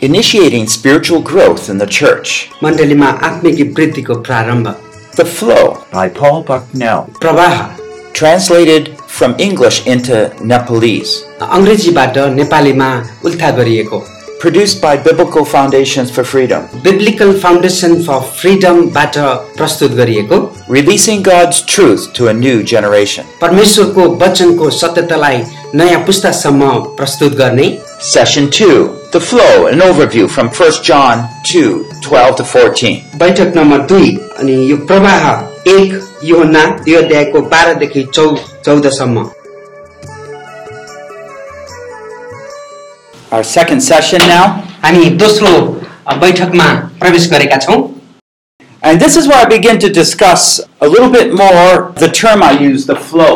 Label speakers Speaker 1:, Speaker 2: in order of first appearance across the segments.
Speaker 1: initiating spiritual growth in the church.
Speaker 2: मण्डलीमा आत्मिक वृद्धिको प्रारम्भ
Speaker 1: The Flow,
Speaker 3: by Paul Bucknell.
Speaker 2: प्रवाह
Speaker 1: translated from English into Nepalese,
Speaker 2: अङ्ग्रेजीबाट नेपालीमा उल्था गरिएको
Speaker 1: produced by Biblical Foundations for Freedom,
Speaker 2: biblical foundation for फ्रिडमबाट प्रस्तुत गरिएको
Speaker 1: releasing God's truth to a new generation.
Speaker 2: परमेश्वरको वचनको सत्यतालाई नयाँ पुस्तासम्म प्रस्तुत गर्ने
Speaker 1: Session 2, The Flow, an overview from 1 John 2 12 to 14.
Speaker 2: बैठक नम्बर दुई अनि यो प्रवाह एक योना दुई अध्यायको बाह्रदेखि चौ चौधसम्म
Speaker 1: Our second session now.
Speaker 2: हामी दोस्रो अ, बैठकमा प्रवेश गरेका छौँ
Speaker 1: And this is where I begin to discuss a little bit more the term I use, the flow.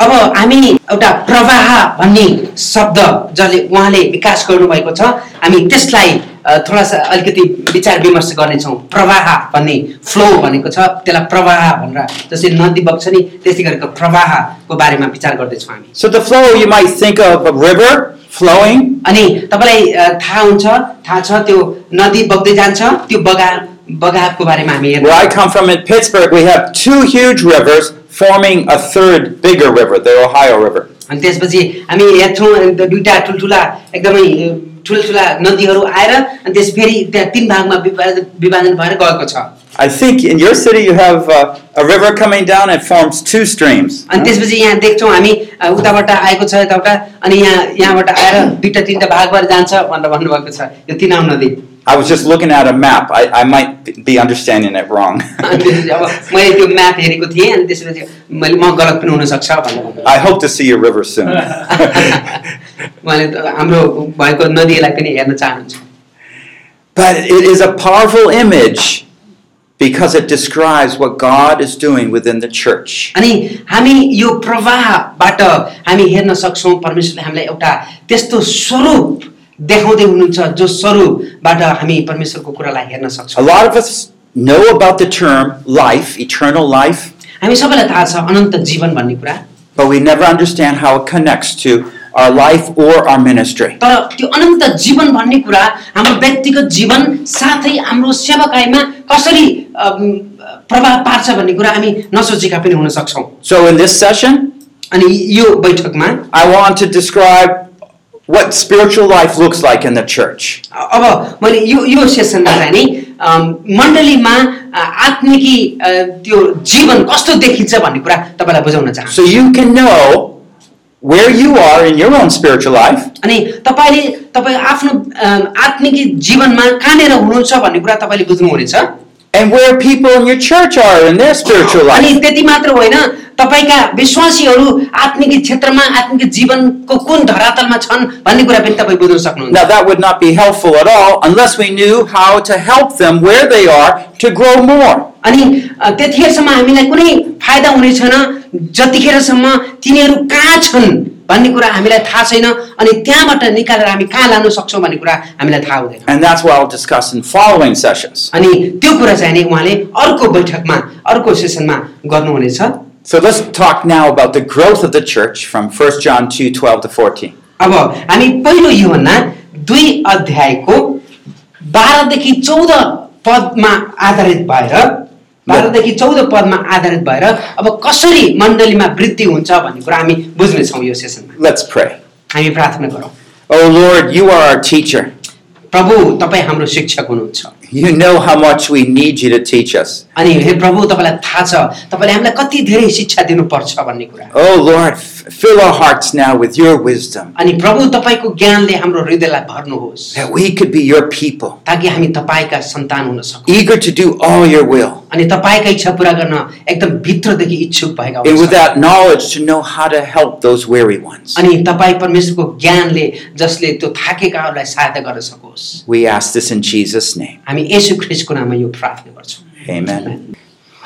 Speaker 2: अब हामी एउटा प्रवाह भन्ने शब्द जसले उहाँले विकास गर्नुभएको छ हामी त्यसलाई अ, थोडा सा अलिकति विचार विमर्श गर्नेछौँ प्रवाह भन्ने फ्लो भनेको छ त्यसलाई प्रवाह भनेर जसरी नदी बग्छ नि त्यस्तै गरेको प्रवाहको बारेमा विचार गर्दैछौँ हामी
Speaker 1: So the flow, you might think of a river flowing,
Speaker 2: अनि तपाईँलाई अ, थाहा हुन्छ थाहा छ त्यो नदी बग्दै जान्छ त्यो बगा बगावको बारेमा हामी हेर्नु
Speaker 1: Where I come from in Pittsburgh, we have two huge rivers forming a third bigger river, the Ohio River.
Speaker 2: अनि त्यसपछि हामी हेर्छौँ अनि त्यो दुइटा ठुल्ठुला एकदमै अ, ठुल्ठुला नदीहरू आएर अनि त्यस फेरि त्यहाँ तिन भागमा विभाजन विभाजन भएर गएको छ
Speaker 1: I think in your city you have uh, a river coming down and forms two streams.
Speaker 2: अनि त्यसपछि यहाँ देख्छौँ हामी अ, उताबाट आएको छ यताबाट अनि यहाँ यहाँबाट आएर दुईवटा तिनवटा भाग भएर जान्छ भनेर भन्नुभएको छ यो तिनाउ नदी
Speaker 1: I was just looking at a map. I, I might be understanding it wrong.
Speaker 2: अनि त्यसपछि अब मैले त्यो म्याप हेरेको थिएँ अनि त्यसपछि मैले म गलत पनि हुनसक्छ भनेर भन्नुभयो।
Speaker 1: I hope to see your river soon.
Speaker 2: उहाँले त हाम्रो भएको नदीलाई पनि हेर्न चाहनुहुन्छ
Speaker 1: But it is a powerful image because it describes what God is doing within the church.
Speaker 2: अनि हामी यो प्रवाहबाट हामी हेर्न सक्छौँ परमेश्वरले हामीलाई एउटा त्यस्तो स्वरूप देखाउँदै हुनुहुन्छ जो स्वरूपबाट हामी परमेश्वरको कुरालाई हेर्न
Speaker 1: A
Speaker 2: सक्छौँ
Speaker 1: lot of us know about the term life, eternal life,
Speaker 2: हामी सबैलाई थाहा छ अनन्त जीवन भन्ने कुरा
Speaker 1: but we never understand how it connects to our life or our ministry.
Speaker 2: तर त्यो अनन्त जीवन भन्ने कुरा हाम्रो व्यक्तिगत जीवन साथै हाम्रो सेवाकाईमा कसरी अम, प्रभाव पार्छ भन्ने कुरा हामी नसोचेका पनि हुन सक्छौँ
Speaker 1: So in this session,
Speaker 2: अनि यो बैठकमा
Speaker 1: I want to describe what spiritual life looks like in the church.
Speaker 2: अब मैले यो यो सेसनमा चाहिँ नि अम, मण्डलीमा अ, आत्मिकी अ, त्यो जीवन कस्तो देखिन्छ भन्ने कुरा तपाईँलाई बुझाउन चाहन्छु
Speaker 1: So you can know where you are in your own spiritual life
Speaker 2: अनि तपाईँले तपाईँ आफ्नो अम, आत्मिकी जीवनमा कहाँनिर हुनुहुन्छ भन्ने कुरा तपाईँले बुझ्नुहुनेछ
Speaker 1: and where people in your church are in their spiritual
Speaker 2: अनि
Speaker 1: life.
Speaker 2: त्यति मात्र होइन तपाईँका विश्वासीहरू आत्मिकी क्षेत्रमा आत्मिक जीवनको कुन धरातलमा छन् भन्ने कुरा पनि तपाईँ बुझ्न सक्नुहुन्छ
Speaker 1: Now, that would not be helpful at all unless we knew how to help them where they are to grow more.
Speaker 2: अनि अ, त्यतिखेरसम्म हामीलाई कुनै फाइदा हुने छैन जतिखेरसम्म तिनीहरू कहाँ छन् भन्ने कुरा हामीलाई थाहा छैन अनि त्यहाँबाट निकालेर हामी कहाँ लान सक्छौँ भन्ने कुरा हामीलाई थाहा हुँदैन
Speaker 1: And that's what I'll discuss in following sessions.
Speaker 2: अनि त्यो कुरा चाहिँ नि उहाँले अर्को बैठकमा अर्को सेसनमा गर्नुहुनेछ
Speaker 1: So let's talk now about the growth of the church from 1 John 2 12 to 14.
Speaker 2: अब हामी पहिलो योभन्दा दुई अध्यायको बाह्रदेखि चौध पदमा आधारित भएर बाह्रदेखि चौध पदमा आधारित भएर अब कसरी मण्डलीमा वृद्धि हुन्छ भन्ने कुरा हामी बुझ्नेछौँ यो सेसनमा
Speaker 1: Let's pray.
Speaker 2: हामी प्रार्थना गरौँ
Speaker 1: Oh Lord, you are our teacher.
Speaker 2: प्रभु तपाईँ हाम्रो शिक्षक हुनुहुन्छ
Speaker 1: You know how much we need you to teach us.
Speaker 2: अनि हे प्रभु तपाईँलाई थाहा छ तपाईँले हामीलाई कति धेरै शिक्षा दिनुपर्छ भन्ने कुरा
Speaker 1: Oh Lord, f- fill our hearts now with your wisdom
Speaker 2: अनि प्रभु तपाईँको ज्ञानले हाम्रो हृदयलाई भर्नुहोस्
Speaker 1: that we could be your people,
Speaker 2: ताकि हामी तपाईँका सन्तान हुन सकौँ
Speaker 1: eager to do all your will,
Speaker 2: अनि तपाईँका इच्छा पुरा गर्न एकदम भित्रदेखि इच्छुक भएका
Speaker 1: and
Speaker 2: हुन्छौँ।
Speaker 1: with that knowledge to know how to help those weary ones.
Speaker 2: अनि तपाईँ परमेश्वरको ज्ञानले जसले त्यो थाकेकाहरूलाई सहायता गर्न सकोस्
Speaker 1: We ask this in Jesus' name.
Speaker 2: हामी यसु ख्रिस्टको नाममा यो प्रार्थना गर्छौँ
Speaker 1: Amen.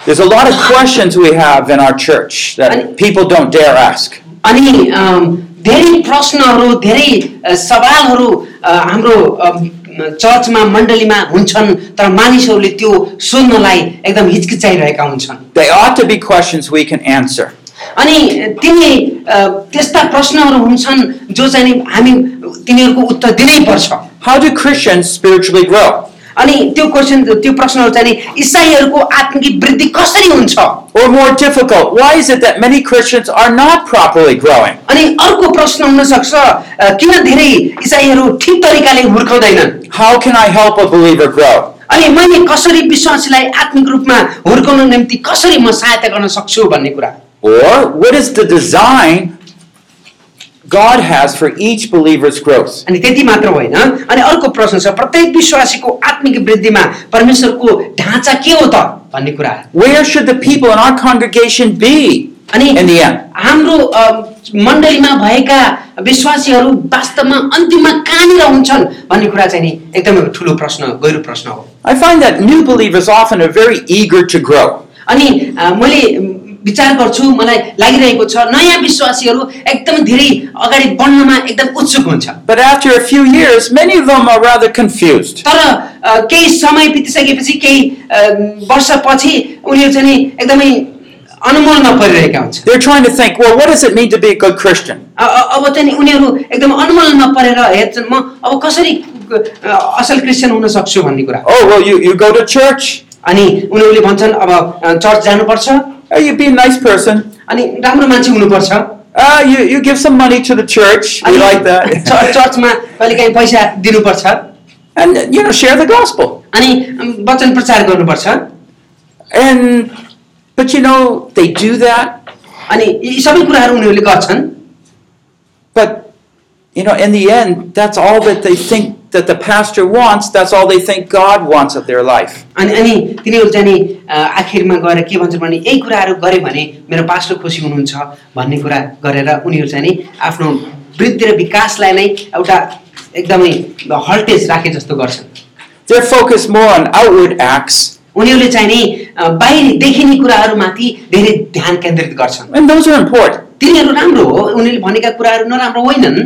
Speaker 1: There's a lot of questions we have in our church that people don't dare ask.
Speaker 2: अनि अम, धेरै प्रश्नहरू धेरै अ, सवालहरू अ, हाम्रो अम, चर्चमा मण्डलीमा हुन्छन् तर मानिसहरूले त्यो सोध्नलाई एकदम हिचकिचाइरहेका हुन्छन्
Speaker 1: They ought to be questions we can answer.
Speaker 2: अनि तिनी अ, त्यस्ता प्रश्नहरू हुन्छन् जो चाहिँ नि हामी तिनीहरूको उत्तर दिनैपर्छ
Speaker 1: How do Christians spiritually grow?
Speaker 2: अनि त्यो क्वेसन त्यो प्रश्नहरू चाहिँ नि इसाईहरूको आत्मिक वृद्धि कसरी हुन्छ
Speaker 1: Or more difficult, why is it that many Christians are not properly growing?
Speaker 2: अनि अर्को प्रश्न हुनसक्छ अ, किन धेरै इसाईहरू ठिक तरिकाले हुर्काउँदैनन्
Speaker 1: How can I help a believer grow?
Speaker 2: अनि मैले कसरी विश्वासीलाई आत्मिक रूपमा हुर्काउनु निम्ति कसरी म सहायता गर्न सक्छु भन्ने कुरा
Speaker 1: Or what is the design God has for each believer's growth?
Speaker 2: अनि त्यति मात्र होइन अनि अर्को प्रश्न छ प्रत्येक विश्वासीको आत्मिक वृद्धिमा परमेश्वरको ढाँचा के हो त भन्ने कुरा
Speaker 1: Where should the people in our congregation be
Speaker 2: अनि
Speaker 1: in the end?
Speaker 2: हाम्रो अ, मण्डलीमा भएका विश्वासीहरू वास्तवमा अन्तिममा कहाँनिर हुन्छन् भन्ने कुरा चाहिँ नि एकदमै ठुलो प्रश्न गहिरो प्रश्न हो
Speaker 1: I find that new believers often are very eager to grow.
Speaker 2: अनि अ, मैले म, विचार गर्छु मलाई लागिरहेको छ नयाँ विश्वासीहरू एकदम धेरै अगाडि बढ्नमा एकदम उत्सुक हुन्छ
Speaker 1: But after a few years, many of them are rather confused.
Speaker 2: तर अ, केही समय बितिसकेपछि केही अ, वर्षपछि उनीहरू चाहिँ नि एकदमै अनुमोलमा परिरहेका हुन्छन्
Speaker 1: They're trying to think, well, what does it mean to be a good Christian?
Speaker 2: अ- अ- अब चाहिँ नि उनीहरू एकदम अनुमोलनमा परेर हेर्छन् म अब कसरी अ, असल क्रिस्चियन हुन सक्छु भन्ने कुरा
Speaker 1: Oh, well, you, you go to church,
Speaker 2: अनि उनीहरूले भन्छन् अब अ, चर्च जानुपर्छ
Speaker 1: Uh, you be a nice person,
Speaker 2: अनि राम्रो मान्छे हुनुपर्छ
Speaker 1: Uh, you, you give some money to the church. We
Speaker 2: अनि
Speaker 1: like
Speaker 2: चर्च-
Speaker 1: that.
Speaker 2: चर्चमा कहिलेकाहीँ पैसा दिनुपर्छ
Speaker 1: and, you know, share the gospel.
Speaker 2: अनि अम, वचन प्रचार गर्नुपर्छ
Speaker 1: And, but you know, they do that.
Speaker 2: अनि यी सबै कुराहरू उनीहरूले गर्छन्
Speaker 1: But, you know, in the end, that's all that they think that the pastor wants. That's all they think God wants of their life.
Speaker 2: अनि अनि तिनीहरू चाहिँ नि अ, आखिरमा गएर के भन्छन् भने यही कुराहरू गऱ्यो भने मेरो पास्टर खुसी हुनुहुन्छ भन्ने कुरा गरेर उनीहरू चाहिँ नि आफ्नो वृद्धि र विकासलाई नै एउटा एकदमै हल्टेज राखे जस्तो गर्छन्
Speaker 1: They're focused more on outward acts,
Speaker 2: उनीहरूले चाहिँ नि अ, बाहिरी देखिने कुराहरूमाथि धेरै ध्यान केन्द्रित गर्छन्
Speaker 1: and those are important.
Speaker 2: तिनीहरू राम्रो हो उनीहरूले भनेका कुराहरू नराम्रो होइनन्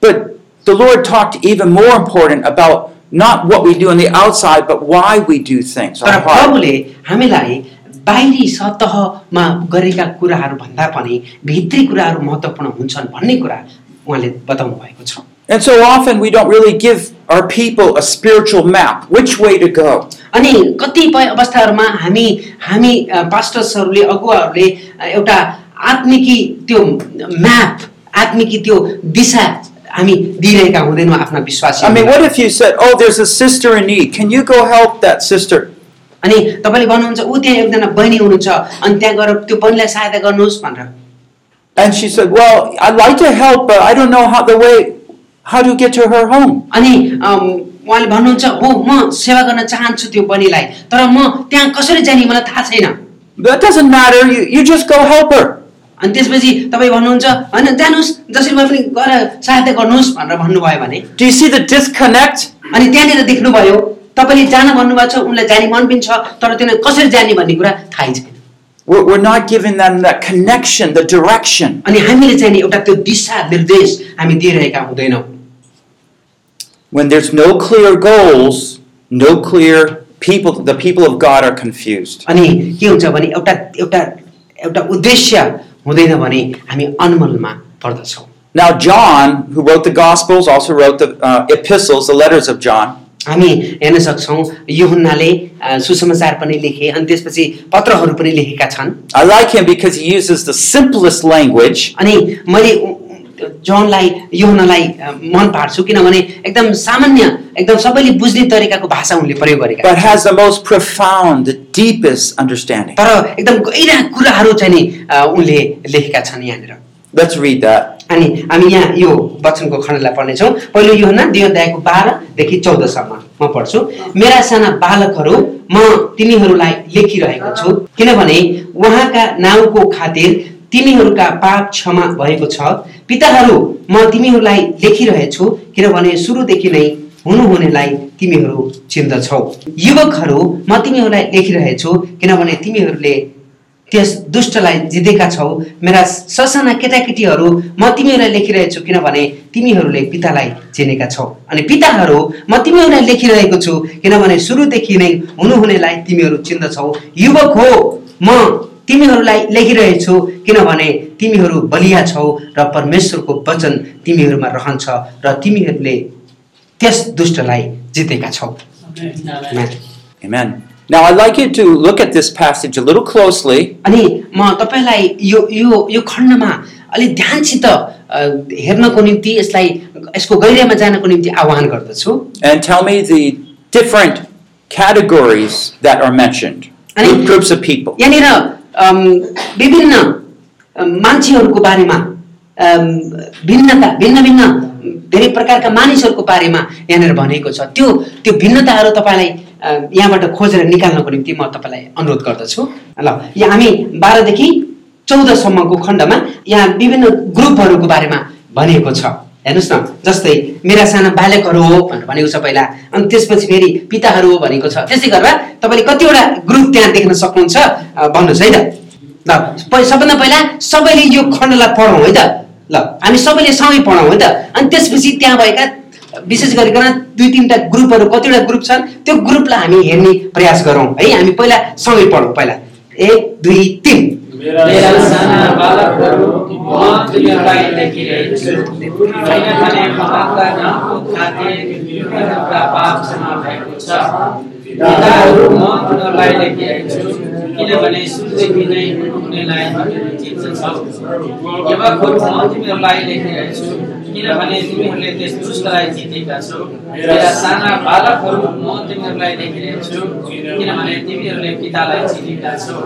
Speaker 1: But the Lord talked even more important about not what we do on the outside, but why we do things.
Speaker 2: तर
Speaker 1: Our heart.
Speaker 2: प्रभुले हामीलाई बाहिरी सतहमा गरेका कुराहरू भन्दा पनि भित्री कुराहरू महत्त्वपूर्ण हुन्छन् भन्ने कुरा उहाँले बताउनु भएको छ
Speaker 1: And so often we don't really give our people a spiritual map, which way to go.
Speaker 2: अनि कतिपय अवस्थाहरूमा हामी हामी अ, पास्टर्सहरूले अगुवाहरूले अ, एउटा आत्मिकी त्यो म्याप आत्मिकी त्यो दिशा हामी दिइरहेका हुँदैनौँ आफ्ना विश्वास
Speaker 1: I mean, what if you said, "Oh, there's a sister in need. Can you go help that sister?"
Speaker 2: अनि तपाईँले भन्नुहुन्छ ऊ त्यहाँ एकजना बहिनी हुनुहुन्छ अनि त्यहाँ गएर त्यो बहिनीलाई सहायता गर्नुहोस् भनेर
Speaker 1: And she said, "Well, I'd like to help, but I don't know how the way how to get to her home."
Speaker 2: अनि अम, उहाँले भन्नुहुन्छ हो म सेवा गर्न चाहन्छु त्यो बहिनीलाई तर म त्यहाँ कसरी जाने मलाई थाहा छैन
Speaker 1: That doesn't matter. You you just go help her.
Speaker 2: अनि त्यसपछि तपाईँ भन्नुहुन्छ होइन जानुहोस् जसरी भए पनि गएर सहायता गर्नुहोस् भनेर भन्नुभयो भने
Speaker 1: Do you see the disconnect?
Speaker 2: अनि त्यहाँनिर देख्नुभयो तपाईँले जान भन्नुभएको छ उनलाई जाने मन पनि छ तर त्यसलाई कसरी जाने भन्ने कुरा थाहै छैन
Speaker 1: We're, we're not giving them that connection, the direction.
Speaker 2: अनि हामीले चाहिँ नि एउटा त्यो दिशा निर्देश हामी दिइरहेका हुँदैनौँ
Speaker 1: When there's no clear goals, no clear people, the people of God are confused.
Speaker 2: अनि के हुन्छ भने एउटा एउटा एउटा उद्देश्य हुँदैन भने हामी अनमलमा पर्दछौँ
Speaker 1: Now, John, who wrote the Gospels, also wrote the uh, epistles, the letters of John.
Speaker 2: हामी हेर्न सक्छौँ युहुन्नाले अ, सुसमाचार पनि लेखे अनि त्यसपछि पत्रहरू पनि लेखेका छन्
Speaker 1: I like him because he uses the simplest language
Speaker 2: अनि मैले उ- उ- जोनलाई युहुन्नालाई अ, मन पार्छु किनभने एकदम सामान्य एकदम सबैले बुझ्ने तरिकाको भाषा उनले प्रयोग गरेका
Speaker 1: but has the most profound, the deepest understanding.
Speaker 2: तर एकदम गहिरा कुराहरू चाहिँ नि अ, उनले लेखेका छन् यहाँनिर
Speaker 1: Let's read that.
Speaker 2: अनि हामी यहाँ यो वचनको खण्डलाई पढ्नेछौँ पहिलो यो हुना दुई अध्यायको बाह्रदेखि चौधसम्म म पढ्छु मेरा साना बालकहरू म तिमीहरूलाई लेखिरहेको छु किनभने उहाँका नाउँको खातिर तिमीहरूका पाप क्षमा भएको छ पिताहरू म तिमीहरूलाई लेखिरहेछु किनभने सुरुदेखि नै हुनुहुनेलाई तिमीहरू चिन्दछौ युवकहरू म तिमीहरूलाई लेखिरहेछु किनभने तिमीहरूले त्यस दुष्टलाई जितेका छौ मेरा ससाना केटाकेटीहरू म तिमीहरूलाई लेखिरहेछु किनभने तिमीहरूले पितालाई चिनेका छौ अनि पिताहरू म तिमीहरूलाई लेखिरहेको छु किनभने सुरुदेखि नै हुनुहुनेलाई तिमीहरू चिन्दछौ युवक हो म तिमीहरूलाई लेखिरहेछु किनभने तिमीहरू बलिया छौ र परमेश्वरको वचन तिमीहरूमा रहन्छ र तिमीहरूले त्यस दुष्टलाई जितेका छौँ
Speaker 3: Amen.
Speaker 1: Amen. Now, I'd like you to look at this passage a little closely.
Speaker 2: अनि म तपाईँलाई यो यो यो खण्डमा अलिक ध्यानसित अ, हेर्नको निम्ति यसलाई यसको गहिरामा जानको निम्ति आह्वान गर्दछु
Speaker 1: and tell me the different categories that are mentioned,
Speaker 2: Ani-
Speaker 1: group- groups of people.
Speaker 2: यहाँनिर अम, विभिन्न अम, मान्छेहरूको बारेमा अम, भिन्नता भिन्न भिन्न धेरै प्रकारका मानिसहरूको बारेमा यहाँनिर भनेको छ त्यो त्यो भिन्नताहरू तपाईँलाई अ, यहाँबाट खोजेर निकाल्नको निम्ति म तपाईँलाई अनुरोध गर्दछु ल यहाँ हामी बाह्रदेखि चौधसम्मको खण्डमा यहाँ विभिन्न ग्रुपहरूको बारेमा भनिएको छ हेर्नुहोस् न जस्तै मेरा साना बालकहरू हो भनेर भनेको छ पहिला अनि त्यसपछि फेरि पिताहरू हो भनेको छ त्यसै गर्दा तपाईँले कतिवटा ग्रुप त्यहाँ देख्न सक्नुहुन्छ अ, भन्नुहोस् है त ल प- सबभन्दा पहिला सबैले यो खण्डलाई पढौँ है त ल हामी सबैले सँगै पढौँ है त अनि त्यसपछि त्यहाँ भएका विशेष गरिकन दुई तिनवटा ग्रुपहरू कतिवटा ग्रुप छन् त्यो ग्रुपलाई हामी हेर्ने प्रयास गरौँ है हामी पहिला सँगै पढौँ पहिला एक दुई तिन
Speaker 3: मेरा
Speaker 4: मेरा
Speaker 3: साना
Speaker 4: साना
Speaker 3: बालकहरू
Speaker 4: बालकहरू म तिमीहरूलाई देखिरहेको छु किनभने उहाँका नामको खातिर तिनीहरूका पाप क्षमा भएको छ पिताहरू म तिनीहरूलाई देखिरहेको छु किनभने सुरुदेखि नै हुनुहुनेलाई तिमीहरू चिन्छ छौ युवकहरू म तिमीहरूलाई देखिरहेको छु किनभने तिमीहरूले त्यस दुष्टलाई जितेका छौ मेरा साना बालकहरू म तिमीहरूलाई देखिरहेको छु किनभने तिमीहरूले पितालाई चिनेका छौ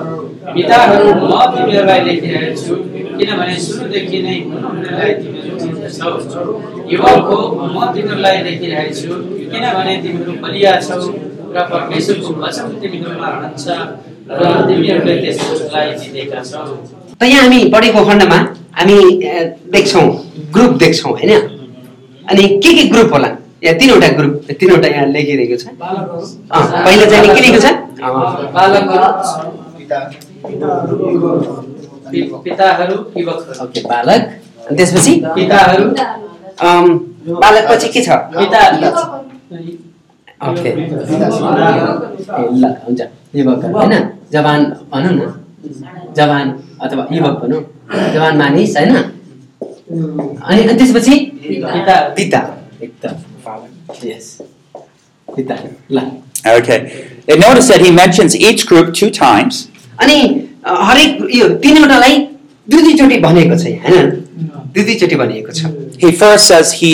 Speaker 4: पिताहरू म तिमीहरूलाई लेखिरहेको छु किनभने सुरुदेखि नै हुनुहुनेलाई तिमीहरू चिन्दछौ युवक हो म तिमीहरूलाई लेखिरहेको छु किनभने तिमीहरू बलिया छौ र परमेश्वरको वचन तिमीहरूमा रहन्छ र तिमीहरूले त्यस दोषलाई जितेका छौ
Speaker 2: त यहाँ हामी बढेको खण्डमा हामी अ, देख्छौँ ग्रुप देख्छौँ होइन अनि के के ग्रुप होला यहाँ तिनवटा ग्रुप तिनवटा यहाँ लेखिरहेको छ अँ, पहिला चाहिँ नि के लेखेको छ अँ,
Speaker 4: बालकहरू
Speaker 3: पि- पिताहरू युवकहरू
Speaker 2: ओके बालक अनि त्यसपछि
Speaker 3: पिताहरू
Speaker 2: अम, बालक पछि के छ
Speaker 3: पिता
Speaker 2: ओके ए, ल हुन्छ युवकहरू होइन जवान भनौँ न जवान अथवा युवक भनौँ जवान मानिस होइन अनि अनि त्यसपछि
Speaker 3: पिता
Speaker 2: पिता एकदम यस पिता ल
Speaker 1: Okay. And notice that he mentions each group two times.
Speaker 2: अनि अ, हरेक यो तिनवटालाई दुई दुईचोटि भनेको छ यहाँ होइन दुई दुईचोटि भनिएको छ
Speaker 1: He first says he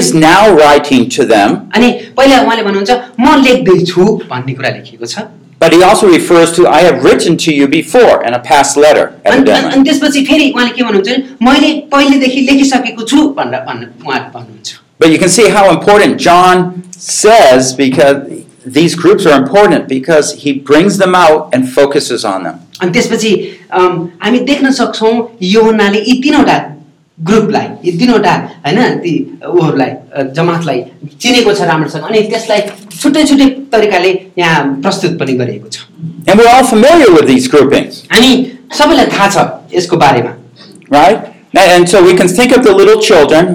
Speaker 1: is now writing to them,
Speaker 2: अनि पहिला उहाँले भन्नुहुन्छ म लेख्दैछु भन्ने कुरा लेखिएको छ
Speaker 1: but he also refers to, I have written to you before in a past letter,
Speaker 2: अनि अनि अनि
Speaker 1: evidently.
Speaker 2: त्यसपछि फेरि उहाँले के भन्नुहुन्छ भने, मैले पहिलेदेखि लेखिसकेको छु भनेर भन्नु उहाँ भन्नुहुन्छ
Speaker 1: But you can see how important John says because these groups are important because he brings them out and focuses on them.
Speaker 2: अनि त्यसपछि अम, हामी देख्न सक्छौँ योहनाले यी तिनवटा ग्रुपलाई यी तिनवटा होइन ती उहरूलाई अ, जमातलाई चिनेको छ राम्रोसँग अनि त्यसलाई छुट्टै छुट्टै तरिकाले यहाँ प्रस्तुत पनि गरिएको छ
Speaker 1: And we're all familiar with these groupings,
Speaker 2: हामी सबैलाई थाहा छ यसको बारेमा
Speaker 1: right? And- And so we can think of the little children,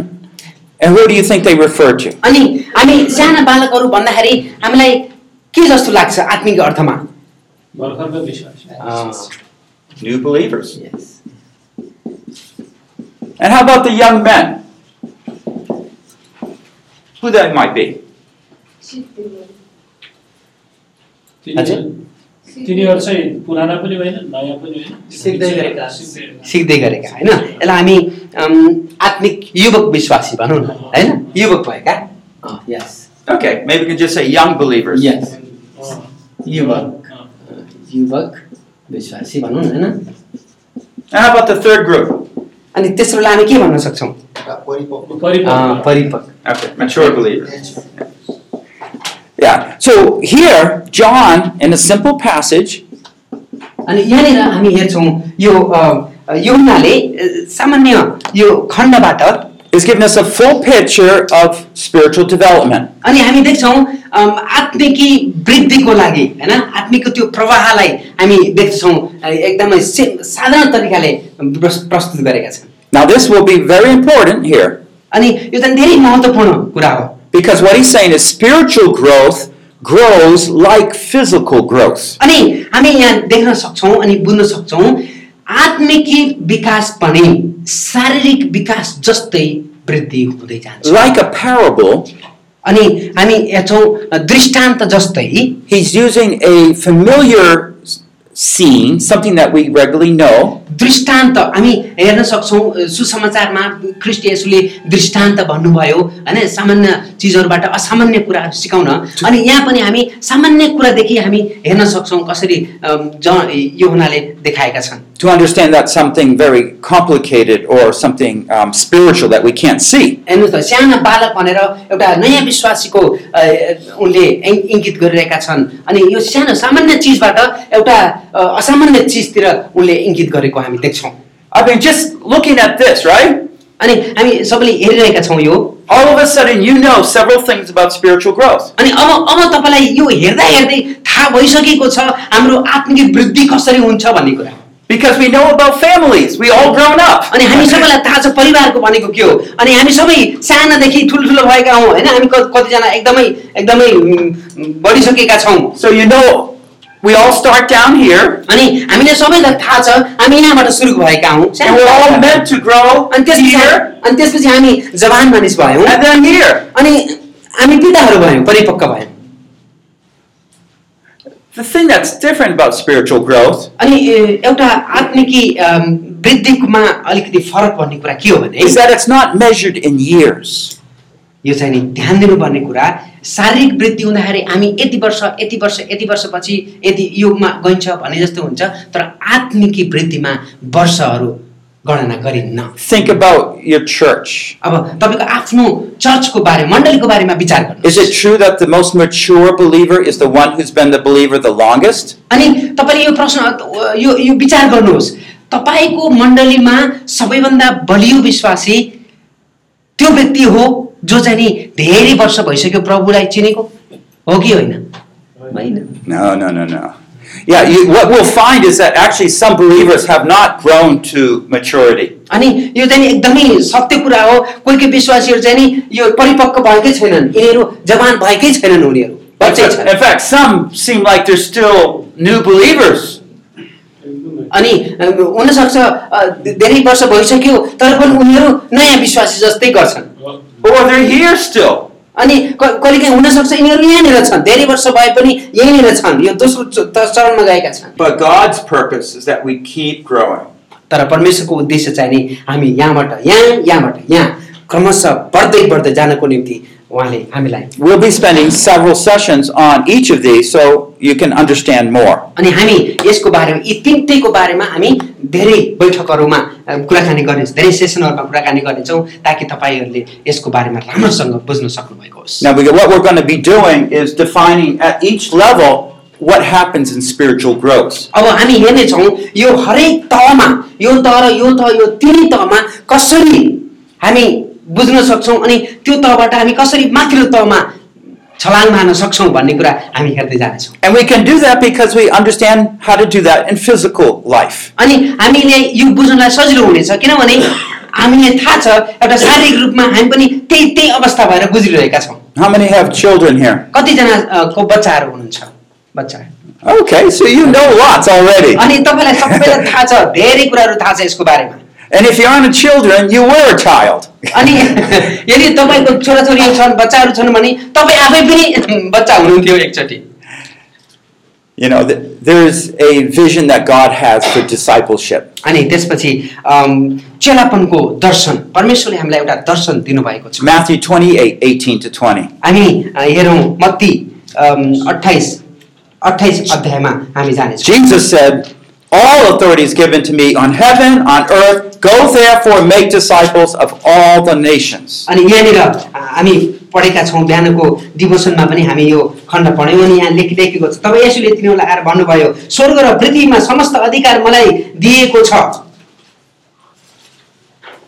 Speaker 1: and who do you think they refer to?
Speaker 2: अनि हामी साना बालकहरू भन्दाखेरि हामीलाई के जस्तो लाग्छ आत्मिक अर्थमा
Speaker 3: भर्खरको विश्वास
Speaker 1: New believers. And how about the young men? Who that might be?
Speaker 2: हजुर?
Speaker 3: तिनीहरू चाहिँ पुराना पनि होइन नयाँ पनि होइन
Speaker 4: सिक्दै गरेका।
Speaker 3: सिक्दै गरेका।
Speaker 2: सिक्दै गरेका होइन यसलाई हामी अम, आत्मिक युवक विश्वासी भनौँ न होइन युवक भएका अँ, yes,
Speaker 1: Okay, maybe we can just say young believers.
Speaker 2: yes,
Speaker 3: अँ,
Speaker 2: युवक
Speaker 3: अँ।
Speaker 2: युवक विश्वासी भनौँ न होइन
Speaker 1: And how about the third group?
Speaker 2: अनि तेस्रोलाई हामी के भन्न सक्छौँ अँ,
Speaker 3: परिपक्व
Speaker 2: परिपक्व
Speaker 1: Okay, mature believers. Yeah, so here, John, in a simple passage,
Speaker 2: अनि यहाँनिर हामी हेर्छौँ यो अ, यमुनाले अ, सामान्य यो खण्डबाट
Speaker 1: is giving us a full picture of spiritual development.
Speaker 2: अनि हामी देख्छौँ अम, आत्मिकी वृद्धिको लागि होइन आत्मिकको त्यो प्रवाहलाई हामी देख्छौँ अ, एकदमै से- साधारण तरिकाले प्रस- प्रस्तुत गरेका छन्
Speaker 1: Now, this will be very important here.
Speaker 2: अनि यो चाहिँ धेरै महत्त्वपूर्ण कुरा हो
Speaker 1: Because what he's saying is spiritual growth grows like physical growth.
Speaker 2: अनि हामी यहाँ देख्न सक्छौँ अनि बुझ्न सक्छौँ आत्मिकी विकास पनि शारीरिक विकास जस्तै वृद्धि हुँदै जान्छ
Speaker 1: Like a parable,
Speaker 2: अनि हामी हेर्छौँ दृष्टान्त जस्तै
Speaker 1: He's using a familiar s- scene, something that we regularly know,
Speaker 2: दृष्टान्त हामी हेर्न सक्छौँ सुसमाचारमा ख्रिस्ट यसुले दृष्टान्त भन्नुभयो होइन सामान्य चिजहरूबाट असामान्य कुरा सिकाउन अनि यहाँ पनि हामी सामान्य कुरादेखि हामी हेर्न सक्छौँ कसरी अम, ज यो हुनाले देखाएका छन्
Speaker 1: to understand that something very complicated or something um, spiritual that we can't see.
Speaker 2: हेर्नुहोस् त साना बालक भनेर एउटा नयाँ विश्वासीको अ, उनले इङ- इङ्गित गरिरहेका छन् अनि यो सानो सामान्य चिजबाट एउटा अ, असामान्य चिजतिर उनले इङ्गित गरेको हामी देख्छौँ
Speaker 1: I mean, just looking at this, right?
Speaker 2: अनि हामी सबैले हेरिरहेका छौँ यो
Speaker 1: All of a sudden, you know several things about spiritual growth.
Speaker 2: अनि अब अब तपाईँलाई यो हेर्दा हेर्दै थाहा भइसकेको छ हाम्रो आत्मिक वृद्धि कसरी हुन्छ भन्ने कुरा
Speaker 1: Because we know about families. We all grown up.
Speaker 2: अनि हामी सबैलाई थाहा छ परिवारको भनेको के हो अनि हामी सबै सानादेखि ठुल्ठुलो भएका हौँ होइन हामी क- कतिजना एकदमै एकदमै उम्, बढिसकेका छौँ
Speaker 1: So you know, we all start down here,
Speaker 2: अनि हामीले सबैलाई थाहा छ हामी यहाँबाट सुरु भएका हौँ
Speaker 1: and we're all meant to grow
Speaker 2: अनि त्यसपछि
Speaker 1: here
Speaker 2: अनि त्यसपछि हामी जवान मानिस भयौँ
Speaker 1: and then here.
Speaker 2: अनि हामी पिताहरू भयौँ परिपक्व भयौँ
Speaker 1: The thing that's different about spiritual growth
Speaker 2: अनि ए, एउटा आत्मिकी अम, वृद्धिमा अलिकति फरक भन्ने कुरा के हो भने
Speaker 1: is that it's not measured in years.
Speaker 2: यो चाहिँ नि ध्यान दिनुपर्ने कुरा शारीरिक वृद्धि हुँदाखेरि हामी यति वर्ष यति वर्ष यति वर्षपछि यति युगमा गइन्छ भने जस्तो हुन्छ तर आत्मिकी वृद्धिमा वर्षहरू गणना गरिन्न
Speaker 1: Think about your church.
Speaker 2: अब तपाईँको आफ्नो चर्चको बारे मण्डलीको बारेमा विचार गर्नु
Speaker 1: Is it true that the most mature believer is the one who's been the believer the longest?
Speaker 2: अनि तपाईँले यो प्रश्न अ, यो यो विचार गर्नुहोस् तपाईँको मण्डलीमा सबैभन्दा बलियो विश्वासी त्यो व्यक्ति हो जो चाहिँ नि धेरै वर्ष भइसक्यो प्रभुलाई चिनेको हो कि होइन होइन
Speaker 1: No, no, no, no. Yeah, you, what we'll find is that actually some believers have not grown to maturity.
Speaker 2: अनि यो चाहिँ नि एकदमै सत्य कुरा हो कोही कोही विश्वासीहरू चाहिँ नि यो परिपक्व भएकै छैनन् यिनीहरू जवान भएकै छैनन् उनीहरू
Speaker 1: But
Speaker 2: बच्चै
Speaker 1: in
Speaker 2: छन्
Speaker 1: fact, some seem like they're still new believers.
Speaker 3: एकदमै।
Speaker 2: अनि अ, हुनसक्छ अ, धेरै वर्ष भइसक्यो तर पनि उनीहरू नयाँ विश्वासी जस्तै गर्छन्
Speaker 1: Or they're here still.
Speaker 2: अनि क- कहिलेकाहीँ हुनसक्छ यिनीहरू यहाँनिर छन् धेरै वर्ष भए पनि यहीँनिर छन् यो दोस्रो च- त- चरणमा गएका छन्
Speaker 1: But God's purpose is that we keep growing.
Speaker 2: तर परमेश्वरको उद्देश्य चाहिँ नि हामी यहाँबाट यहाँ यहाँबाट यहाँ क्रमशः बढ्दै बढ्दै जानको निम्ति उहाँले हामीलाई
Speaker 1: We'll be spending several sessions on each of these so you can understand more.
Speaker 2: अनि हामी यसको बारेमा यी तिनटैको बारेमा हामी धेरै बैठकहरूमा अ, कुराकानी गर्ने धेरै सेसनहरूमा कुराकानी गर्नेछौँ ताकि तपाईँहरूले यसको बारेमा राम्रोसँग बुझ्न सक्नुभएको होस्
Speaker 1: Now, because what we're going to be doing is defining at each level what happens in spiritual growth.
Speaker 2: अब हामी हेर्नेछौँ यो हरेक तहमा यो तह र यो तह यो तिनै तहमा कसरी हामी बुझ्न सक्छौँ अनि त्यो तहबाट हामी कसरी माथिल्लो तहमा छलाङ मार्न सक्छौँ भन्ने कुरा हामी हेर्दै जानेछौँ
Speaker 1: And we can do that because we understand how to do that in physical life.
Speaker 2: अनि हामीले यो बुझ्नलाई सजिलो हुनेछ किनभने हामीले थाहा छ एउटा शारीरिक रूपमा हामी पनि त्यही त्यही अवस्था भएर गुज्रिरहेका छौँ
Speaker 1: How many have children here?
Speaker 2: कतिजना अ, को बच्चाहरू हुनुहुन्छ बच्चा
Speaker 1: Okay, so you know lots already.
Speaker 2: अनि तपाईँलाई सबैलाई थाहा छ धेरै कुराहरू थाहा छ यसको बारेमा
Speaker 1: And if you aren't a children, you were a child.
Speaker 2: अनि यदि तपाईँको छोराछोरीहरू छन् बच्चाहरू छन् भने तपाईँ आफै पनि बच्चा हुनुहुन्थ्यो एकचोटि
Speaker 1: You know, th- there's a vision that God has for discipleship.
Speaker 2: अनि त्यसपछि अम, चेलापनको दर्शन परमेश्वरले हामीलाई एउटा दर्शन दिनुभएको छ
Speaker 1: Matthew 28 18 to 20.
Speaker 2: हामी अ, हेरौँ मत्ती अम, अठाइस अठाइस अध्यायमा हामी जानेछौँ
Speaker 1: Jesus said, All authority is given to me on heaven, on earth. Go therefore make disciples of all the nations.
Speaker 2: अनि यहाँनिर अ, हामी पढेका छौँ बिहानको डिभोसनमा पनि हामी यो खण्ड पढ्यौँ अनि यहाँ लेखि लेखेको छ तब यसुले तिनीहरूलाई आएर भन्नुभयो स्वर्ग र पृथ्वीमा समस्त अधिकार मलाई दिएको छ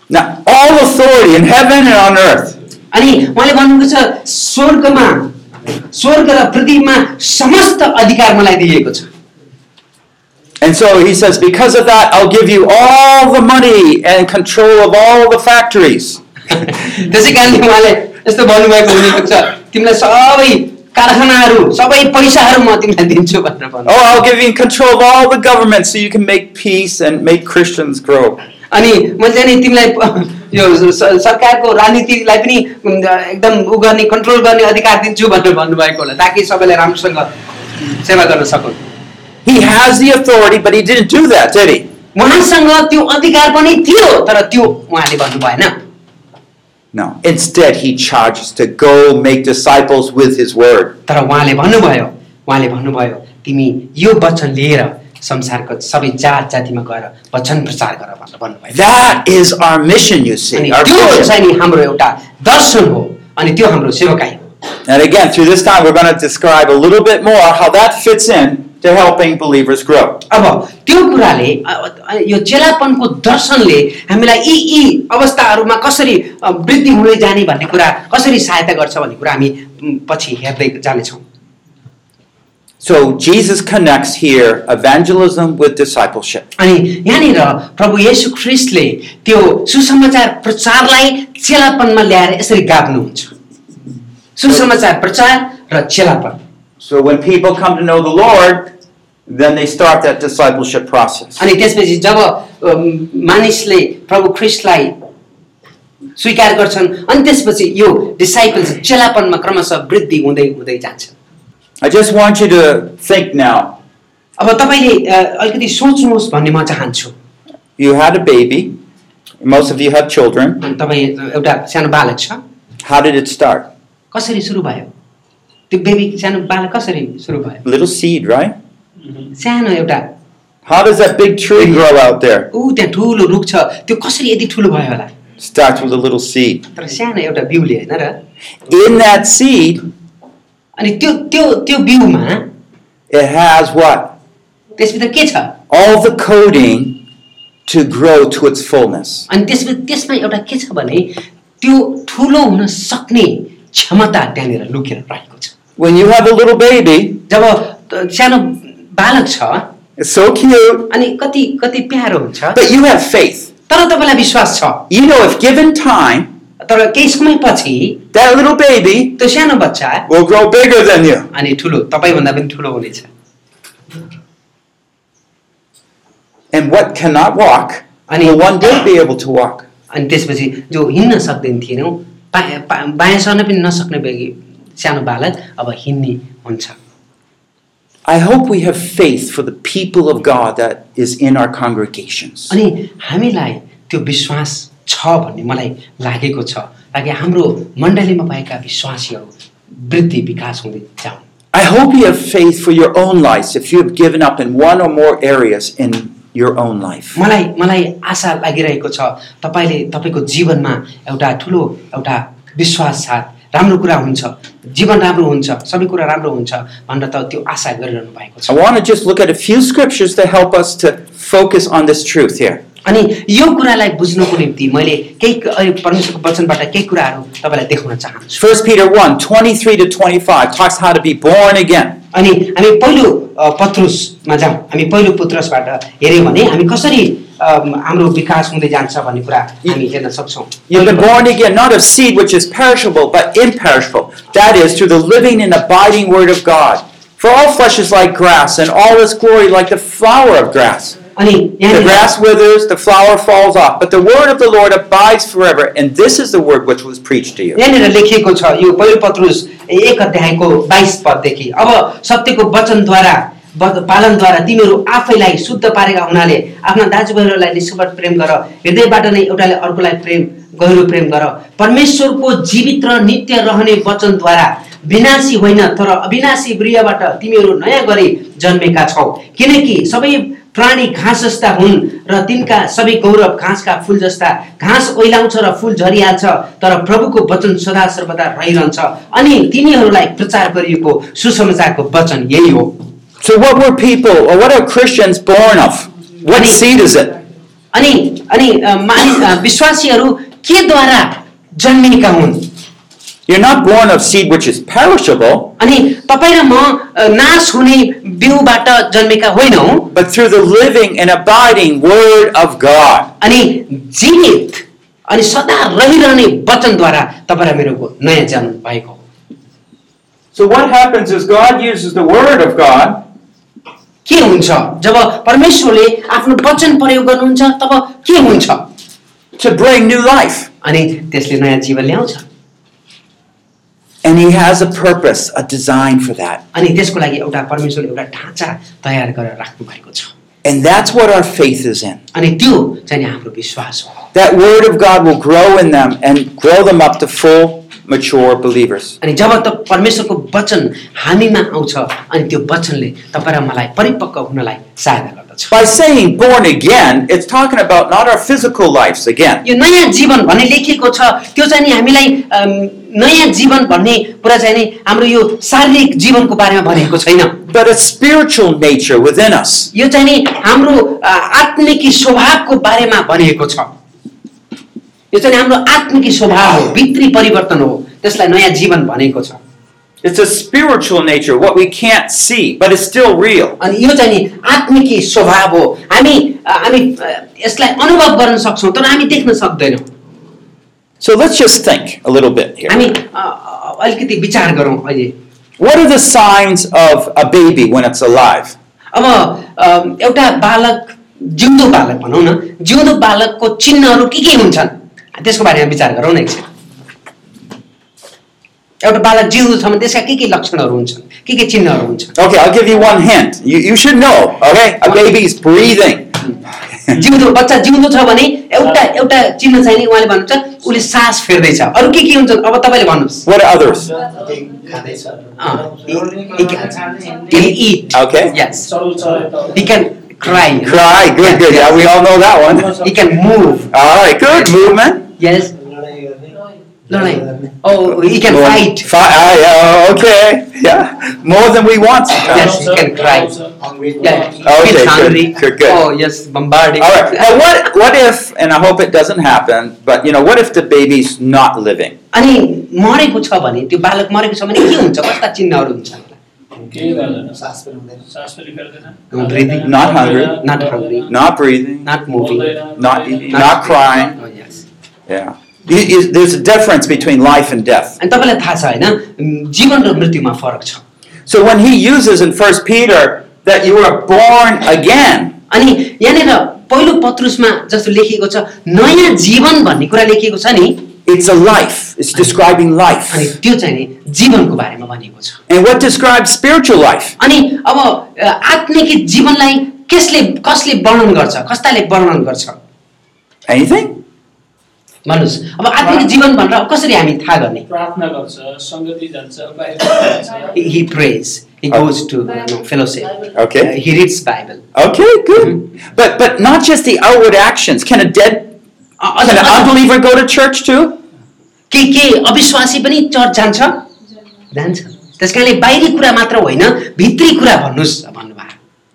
Speaker 1: Now, all authority in heaven and on earth.
Speaker 2: अनि उहाँले भन्नुभएको छ स्वर्गमा स्वर्ग र पृथ्वीमा समस्त अधिकार मलाई दिएको छ
Speaker 1: And so he says, Because of that, I'll give you all the money and control of all the factories.
Speaker 2: त्यसै कारणले उहाँले यस्तो भन्नुभएको हुनेको छ तिमीलाई सबै कारखानाहरू सबै पैसाहरू म तिमीलाई दिन्छु भनेर भन्नु
Speaker 1: Oh, I'll give you control of all the governments so you can make peace and make Christians grow.
Speaker 2: अनि मैले चाहिँ नि तिमीलाई प- यो स- सरकारको राजनीतिलाई पनि उम्, एकदम उ गर्ने कन्ट्रोल गर्ने अधिकार दिन्छु भनेर भन्नुभएको होला ताकि सबैले राम्रोसँग सेवा गर्न सकुन्
Speaker 1: He has the authority, but he didn't do that, did he?
Speaker 2: उहाँसँग त्यो अधिकार पनि थियो तर त्यो उहाँले भन्नु भएन
Speaker 1: No. Instead, he charges to go make disciples with his word.
Speaker 2: तर उहाँले भन्नुभयो उहाँले भन्नुभयो तिमी यो वचन लिएर संसारको सबै जात जातिमा गएर वचन प्रचार गर भनेर भन्नुभयो
Speaker 1: That is our mission, you
Speaker 2: अनि
Speaker 1: see. Our
Speaker 2: त्यो
Speaker 1: vision.
Speaker 2: चाहिँ नि हाम्रो एउटा दर्शन हो अनि त्यो हाम्रो सेवकाई हो
Speaker 1: And again, through this time, we're going to describe a little bit more how that fits in to helping believers grow.
Speaker 2: अब त्यो कुराले अ, अ, यो चेलापनको दर्शनले हामीलाई यी यी अवस्थाहरूमा कसरी अ, वृद्धि हुँदै जाने भन्ने कुरा कसरी सहायता गर्छ भन्ने कुरा हामी उम्, पछि हेर्दै जानेछौँ
Speaker 1: So Jesus connects here evangelism with discipleship.
Speaker 2: अनि यहाँनिर प्रभु येशु ख्रिस्टले त्यो सुसमाचार प्रचारलाई चेलापनमा ल्याएर यसरी गाग्नुहुन्छ सुसमाचार प्रचार र चेलापन
Speaker 1: So when people come to know the Lord, then they start that discipleship process.
Speaker 2: अनि त्यसपछि जब अम, मानिसले प्रभु ख्रिस्टलाई स्वीकार गर्छन् अनि त्यसपछि यो डिसाइपल्स चेलापनमा क्रमशः वृद्धि हुँदै हुँदै जान्छ
Speaker 1: I just want you to think now.
Speaker 2: अब तपाईँले अ, अलिकति सोच्नुहोस् भन्ने म चाहन्छु
Speaker 1: You had a baby. Most of you have children.
Speaker 2: अनि तपाईँ एउटा सानो बालक छ
Speaker 1: How did it start?
Speaker 2: कसरी सुरु भयो त्यो बेबी सानो बालक कसरी सुरु भयो
Speaker 1: Little seed, right?
Speaker 2: सानो एउटा
Speaker 1: How does that big tree grow out there?
Speaker 2: ऊ त्यहाँ ठुलो रुख छ त्यो कसरी यति ठुलो भयो होला
Speaker 1: Starts with a little seed.
Speaker 2: तर सानो एउटा बिउले होइन र
Speaker 1: In that seed,
Speaker 2: अनि त्यो त्यो त्यो बिउमा
Speaker 1: it has what?
Speaker 2: त्यसभित्र के छ
Speaker 1: All the coding to grow to its fullness.
Speaker 2: अनि त्यसमा त्यसमा एउटा के छ भने त्यो ठुलो हुन सक्ने क्षमता त्यहाँनिर लुकेर रहेको छ
Speaker 1: When you have a little baby,
Speaker 2: जब त- सानो बालक छ
Speaker 1: it's so cute,
Speaker 2: अनि कति कति प्यारो हुन्छ
Speaker 1: but you have faith.
Speaker 2: तर तपाईँलाई विश्वास छ
Speaker 1: You know, if given time,
Speaker 2: तर केही समयपछि
Speaker 1: that little baby
Speaker 2: त्यो सानो बच्चा
Speaker 1: will grow bigger than you.
Speaker 2: अनि ठुलो तपाईँभन्दा पनि ठुलो हुनेछ
Speaker 1: And what cannot walk
Speaker 2: I need-
Speaker 1: will one day be able to walk.
Speaker 2: अनि त्यसपछि जो हिँड्न सक्दैन थिएनौ पा- पा- बायाँ सर्न पनि नसक्ने बेगी सानो बालक अब हिँड्ने हुन्छ
Speaker 1: I hope we have faith for the people of God that is in our congregations.
Speaker 2: अनि हामीलाई त्यो विश्वास छ भन्ने मलाई लागेको छ ताकि हाम्रो मण्डलीमा भएका विश्वासीहरू वृद्धि विकास हुँदै जाउन्
Speaker 1: I hope you have faith for your own lives if you have given up in one or more areas in your own life.
Speaker 2: मलाई मलाई आशा लागिरहेको छ तपाईँले तपाईँको जीवनमा एउटा ठुलो एउटा विश्वास साथ राम्रो कुरा हुन्छ जीवन राम्रो हुन्छ सबै कुरा राम्रो हुन्छ भनेर त त्यो आशा गरिरहनु भएको छ
Speaker 1: I want to just look at a few scriptures to help us to focus on this truth here.
Speaker 2: अनि यो कुरालाई बुझ्नको निम्ति मैले केही अहिले परमेश्वरको वचनबाट केही कुराहरू तपाईँलाई देखाउन चाहन्छु
Speaker 1: 1 Peter 1 23 to 25 talks how to be born again.
Speaker 2: अनि हामी पहिलो अ, पत्रुसमा जाउँ हामी पहिलो पुत्रसबाट हेऱ्यौँ भने हामी कसरी अम, हाम्रो विकास हुँदै जान्छ भन्ने कुरा हामी हेर्न सक्छौँ
Speaker 1: You've been born again, not of seed which is perishable, but imperishable. That is, through the living and abiding Word of God. For all flesh is like grass, and all its glory like the flower of grass.
Speaker 2: अनि
Speaker 1: The
Speaker 2: यहाँनिर
Speaker 1: grass withers, the flower falls off, but the word of the Lord abides forever, and this is the word which was preached to you.
Speaker 2: यहाँनिर लेखिएको छ यो पहिलो पत्रुस एक अध्यायको बाइस पददेखि अब सत्यको वचनद्वारा ब- पालनद्वारा तिमीहरू आफैलाई शुद्ध पारेका हुनाले आफ्ना दाजुभाइहरूलाई निष्कपट प्रेम गर हृदयबाट नै एउटाले अर्कोलाई प्रेम गहिरो प्रेम गर परमेश्वरको जीवित र नित्य रहने वचनद्वारा विनाशी होइन तर अविनाशी गृहबाट तिमीहरू नयाँ गरी जन्मेका छौ किनकि सबै प्राणी घाँस जस्ता हुन् र तिनका सबै गौरव घाँसका फुल जस्ता घाँस ओइलाउँछ र फुल झरिहाल्छ तर प्रभुको वचन सदा सर्वदा रहिरहन्छ अनि तिनीहरूलाई प्रचार गरिएको सुसमाचारको वचन यही हो
Speaker 1: So, what were people, or what are Christians born of? What seed is it?
Speaker 2: अनि अनि अ, मानिस अ, विश्वासीहरू केद्वारा जन्मिएका हुन्
Speaker 1: You're not born of seed which is perishable,
Speaker 2: अनि तपाईँ र म अ, नाश हुने बिउबाट जन्मेका होइनौँ
Speaker 1: but through the living and abiding word of God.
Speaker 2: अनि जीवित अनि सदा रहिरहने वचनद्वारा तपाईँ र मेरोको नयाँ जन्म भएको हो
Speaker 1: So, what happens is God uses the word of God
Speaker 2: के हुन्छ जब परमेश्वरले आफ्नो वचन प्रयोग गर्नुहुन्छ तब के हुन्छ
Speaker 1: to bring new life.
Speaker 2: अनि त्यसले नयाँ जीवन ल्याउँछ
Speaker 1: And He has a purpose, a design for that.
Speaker 2: अनि त्यसको लागि एउटा परमेश्वरले एउटा ढाँचा तयार गरेर राख्नु भएको छ
Speaker 1: And that's what our faith is in.
Speaker 2: अनि त्यो चाहिँ नि हाम्रो विश्वास हो
Speaker 1: That Word of God will grow in them and grow them up to full, mature believers.
Speaker 2: अनि जब त परमेश्वरको वचन हामीमा आउँछ अनि त्यो वचनले तपाईँ र मलाई परिपक्व हुनलाई सहायता गर्दछ
Speaker 1: By saying born again, it's talking about not our physical lives again,
Speaker 2: यो नयाँ जीवन भन्ने लेखिएको छ त्यो चाहिँ नि हामीलाई अम, नयाँ जीवन भन्ने कुरा चाहिँ नि हाम्रो यो शारीरिक जीवनको बारेमा भनेको छैन
Speaker 1: but a spiritual nature within us.
Speaker 2: यो चाहिँ नि हाम्रो अ, आत्मिकी स्वभावको बारेमा भनिएको छ यो चाहिँ नि हाम्रो आत्मिकी स्वभाव हो भित्री परिवर्तन हो त्यसलाई नयाँ जीवन भनेको छ
Speaker 1: It's a spiritual nature, what we can't see, but it's still real.
Speaker 2: अनि यो चाहिँ नि आत्मिकी स्वभाव हो हामी अ, हामी अ, यसलाई अनुभव गर्न सक्छौँ तर हामी देख्न सक्दैनौँ
Speaker 1: So let's just think a little bit here.
Speaker 2: हामी अ, अ, अलिकति विचार गरौँ अहिले
Speaker 1: What are the signs of a baby when it's alive?
Speaker 2: अब अम, एउटा बालक जिउँदो बालक भनौँ न जिउँदो बालकको चिन्हहरू के के हुन्छन् त्यसको बारेमा विचार गरौँ न एकछिन एउटा बालक जिउँदो छ भने त्यसका के के लक्षणहरू हुन्छन् के के चिन्हहरू हुन्छन्
Speaker 1: Okay, I'll give you one hint. You, you should know, okay? A baby's breathing.
Speaker 2: जिउँदो बच्चा जिउँदो छ भने एउटा एउटा चिन्ह चाहिँ नि उहाँले भन्नुहुन्छ उसले सास फेर्दैछ अरू के के हुन्छन् अब तपाईँले भन्नुहोस्
Speaker 1: What are others?
Speaker 2: Uh, he- he can- can eat.
Speaker 1: Okay.
Speaker 2: Yes.
Speaker 3: चल चल
Speaker 2: He can cry.
Speaker 1: Cry. Good, good. Yeah, we all know that one.
Speaker 2: He can move.
Speaker 1: All right, good. Movement.
Speaker 2: Yes. लडाइँ Oh, he can
Speaker 1: More-
Speaker 2: fight.
Speaker 1: Fi- ah, yeah, oh, okay. Yeah. More than we want.
Speaker 2: Yes, you can cry. Yeah, he
Speaker 1: Ah, Okay,
Speaker 2: feels
Speaker 1: good,
Speaker 2: hungry.
Speaker 1: good, good.
Speaker 2: Oh, yes, bombarding. Uh,
Speaker 1: All right. Now, what, what if, and I hope it doesn't happen, but you know, what if the baby's not living?
Speaker 2: अनि मरेको छ भने त्यो बालक मरेको छ भने के हुन्छ कस्ता चिन्हहरू हुन्छ
Speaker 3: केही गर्दैन सास पनि
Speaker 2: Don't
Speaker 3: फेर्दैन
Speaker 2: breathe.
Speaker 1: Not hungry.
Speaker 2: Not hungry.
Speaker 1: Not breathing, not,
Speaker 2: Not moving.
Speaker 1: not eating, not crying.
Speaker 2: Oh, yes.
Speaker 1: Yeah. You- you- There's a difference between life and death.
Speaker 2: अनि तपाईँलाई थाहा छ होइन उम्, जीवन र मृत्युमा फरक छ
Speaker 1: So when he uses in First Peter that you are born again,
Speaker 2: अनि यहाँनिर पहिलो पत्रुसमा जस्तो लेखिएको छ नयाँ जीवन भन्ने कुरा लेखिएको छ नि
Speaker 1: it's a life. It's describing
Speaker 2: अनि
Speaker 1: life.
Speaker 2: त्यो चाहिँ नि जीवनको बारेमा भनिएको छ
Speaker 1: And what describes spiritual life?
Speaker 2: अनि अब अ, आत्मिक जीवनलाई कसले कसले वर्णन गर्छ कस्ताले वर्णन गर्छ
Speaker 1: Anything?
Speaker 2: भन्नुहोस् अब आत्मिक जीवन भनेर अब कसरी हामी थाहा गर्ने
Speaker 3: प्रार्थना गर्छ सङ्गति जान्छ बाहिर जान्छ
Speaker 2: He, he prays. He
Speaker 1: Oh.
Speaker 2: goes to you know, fellowship. Uh,
Speaker 1: Okay.
Speaker 2: he reads Bible.
Speaker 1: Okay, good. But but not just the outward actions. Can a dead
Speaker 2: अ- अझ
Speaker 1: can an
Speaker 2: अझ
Speaker 1: unbeliever go to church too?
Speaker 2: uh, के के अविश्वासी पनि church जान्छ जान्छ त्यस कारणले बाहिरी कुरा मात्र होइन भित्री कुरा भन्नुहोस् भन्नुभयो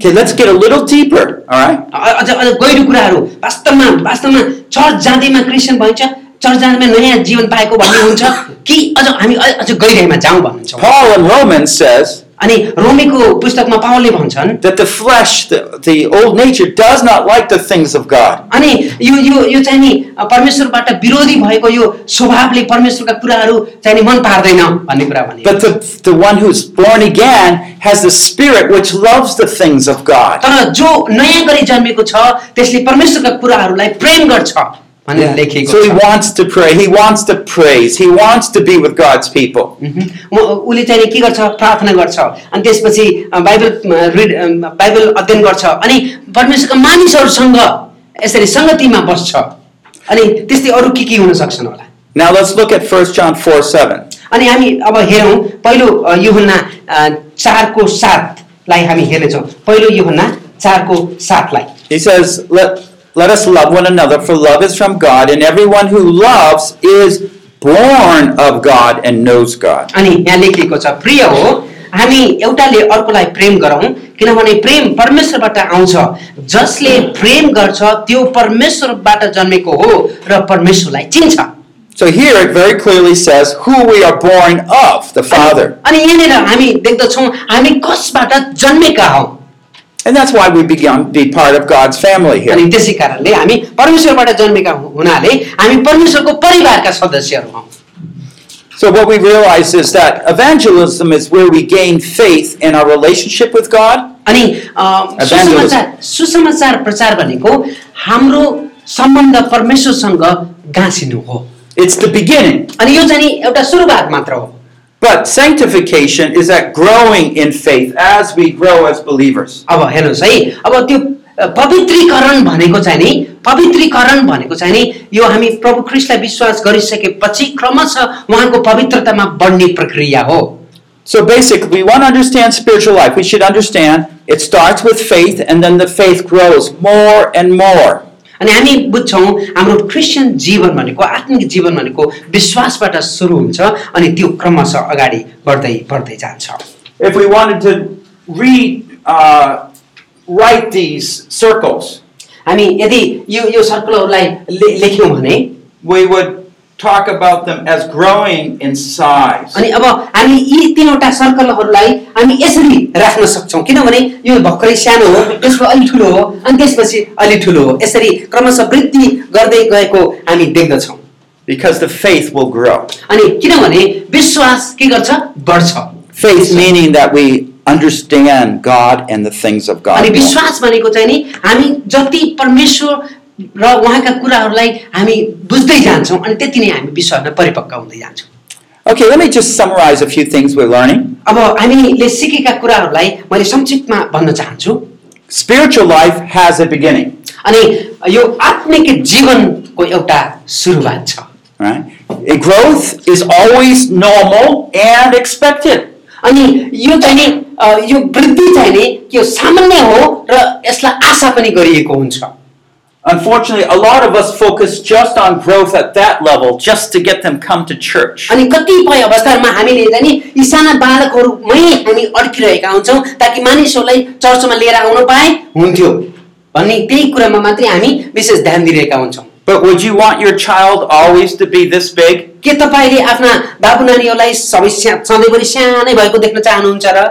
Speaker 1: Okay, let's get a little deeper, all right?
Speaker 2: अ- अझ अझ गहिरो कुराहरू वास्तवमा वास्तवमा चर्च जाँदैमा क्रिस्चियन भइन्छ चर्च जाँदैमा नयाँ जीवन पाएको भन्ने हुन्छ कि अझ हामी अ- अझ गहिराइमा जाउँ भन्नुहुन्छ
Speaker 1: Paul in Romans says
Speaker 2: अनि रोमीको पुस्तकमा पावलले भन्छन्
Speaker 1: that the flesh, the, the old nature, does not like the things of God.
Speaker 2: अनि यो यो यो चाहिँ नि परमेश्वरबाट विरोधी भएको यो स्वभावले परमेश्वरका कुराहरू चाहिँ नि मन पार्दैन भन्ने कुरा भने
Speaker 1: But the, the one who's born again has the spirit which loves the things of God.
Speaker 2: तर जो नयाँ गरी जन्मेको छ त्यसले परमेश्वरका कुराहरूलाई प्रेम गर्छ भनेर लेखिएको
Speaker 1: So he
Speaker 2: छ
Speaker 1: wants to pray, he wants to praise, he wants to be with God's people.
Speaker 2: उहुँ। उ- उसले चाहिँ नि के गर्छ प्रार्थना गर्छ अनि त्यसपछि अ, बाइबल अ, रिड अ, बाइबल अध्ययन गर्छ अनि परमेश्वरका मानिसहरूसँग यसरी सङ्गतिमा बस्छ अनि त्यस्तै अरू के के हुन सक्छन् होला
Speaker 1: Now let's look at 1 John 4 7.
Speaker 2: अनि हामी अब हेरौँ पहिलो अ, युहन्ना अ, चारको सातलाई हामी हेर्नेछौँ पहिलो युहन्ना चारको सातलाई
Speaker 1: He says, let, let us love one another, for love is from God, and everyone who loves is born of God and knows God.
Speaker 2: अनि यहाँ लेखिएको छ प्रिय हो हामी एउटाले अर्कोलाई प्रेम गरौँ किनभने प्रेम परमेश्वरबाट आउँछ जसले प्रेम गर्छ त्यो परमेश्वरबाट जन्मेको हो र परमेश्वरलाई चिन्छ
Speaker 1: So here it very clearly says who we are born of, the Father.
Speaker 2: अनि यहाँनिर हामी देख्दछौँ हामी कसबाट जन्मेका हौ
Speaker 1: And that's why we began be part of God's family
Speaker 2: अनि
Speaker 1: here.
Speaker 2: त्यसै कारणले हामी परमेश्वरबाट जन्मेका हु- हुनाले हामी परमेश्वरको परिवारका सदस्यहरू हौ
Speaker 1: So what we realize is that evangelism is where we gain faith in our relationship with God
Speaker 2: अनि अ,
Speaker 1: Evangelism.
Speaker 2: सुसमाचार सुसमाचार प्रचार भनेको हाम्रो सम्बन्ध परमेश्वरसँग गाँसिनु हो
Speaker 1: It's the beginning.
Speaker 2: अनि यो चाहिँ नि एउटा सुरुवात मात्र हो
Speaker 1: But sanctification is that growing in faith as we grow as believers.
Speaker 2: अब हेर्नुहोस् है अब त्यो अ, पवित्रीकरण भनेको चाहिँ नि पवित्रीकरण भनेको चाहिँ नि यो हामी प्रभु ख्रिस्टलाई विश्वास गरिसकेपछि क्रमशः उहाँको पवित्रतामा बढ्ने प्रक्रिया हो
Speaker 1: So basically, we want to understand spiritual life. We should understand it starts with faith and then the faith grows more and more.
Speaker 2: अनि हामी बुझ्छौँ हाम्रो क्रिस्चियन जीवन भनेको आत्मिक जीवन भनेको विश्वासबाट सुरु हुन्छ अनि त्यो क्रमशः अगाडि बढ्दै बढ्दै जान्छ
Speaker 1: If we wanted to re uh, write these circles,
Speaker 2: हामी यदि यो यो सर्कुलहरूलाई ले लेख्यौँ भने
Speaker 1: we would talk about them as growing in size.
Speaker 2: अनि अब हामी यी तिनवटा सर्कलहरूलाई हामी यसरी राख्न सक्छौँ किनभने यो भर्खरै सानो हो त्यसको अलि ठुलो हो अनि त्यसपछि अलि ठुलो हो यसरी क्रमशः वृद्धि गर्दै गएको हामी देख्दछौँ
Speaker 1: Because the faith will grow.
Speaker 2: अनि किनभने विश्वास के गर्छ बढ्छ
Speaker 1: Faith meaning that we understand God and the things of God.
Speaker 2: अनि
Speaker 1: more.
Speaker 2: विश्वास भनेको चाहिँ नि हामी जति परमेश्वर र उहाँका कुराहरूलाई हामी बुझ्दै जान्छौँ अनि त्यति नै हामी विश्वासमा परिपक्व हुँदै जान्छौँ
Speaker 1: Okay, let me just summarize a few things we're learning.
Speaker 2: अब हामीले सिकेका कुराहरूलाई मैले संक्षिप्तमा भन्न चाहन्छु
Speaker 1: Spiritual life has a beginning,
Speaker 2: अनि यो आत्मिक जीवनको एउटा सुरुवात छ
Speaker 1: right? A growth is always normal and expected.
Speaker 2: अनि यो चाहिँ नि अ, यो वृद्धि चाहिँ नि यो सामान्य हो र यसलाई आशा पनि गरिएको हुन्छ
Speaker 1: Unfortunately, a lot of us focus just on growth at that level just to get them come to church.
Speaker 2: अनि कतिपय अवस्थाहरूमा हामीले चाहिँ नि यी साना बालकहरूमै हामी अड्किरहेका हुन्छौँ ताकि मानिसहरूलाई चर्चमा लिएर आउन पाए हुन्थ्यो भन्ने त्यही कुरामा मात्रै हामी विशेष ध्यान दिइरहेका हुन्छौँ
Speaker 1: But would you want your child always to be this big?
Speaker 2: के तपाईँले आफ्ना बाबु नानीहरूलाई सबै स्या- सधैँभरि सानै भएको देख्न चाहनुहुन्छ र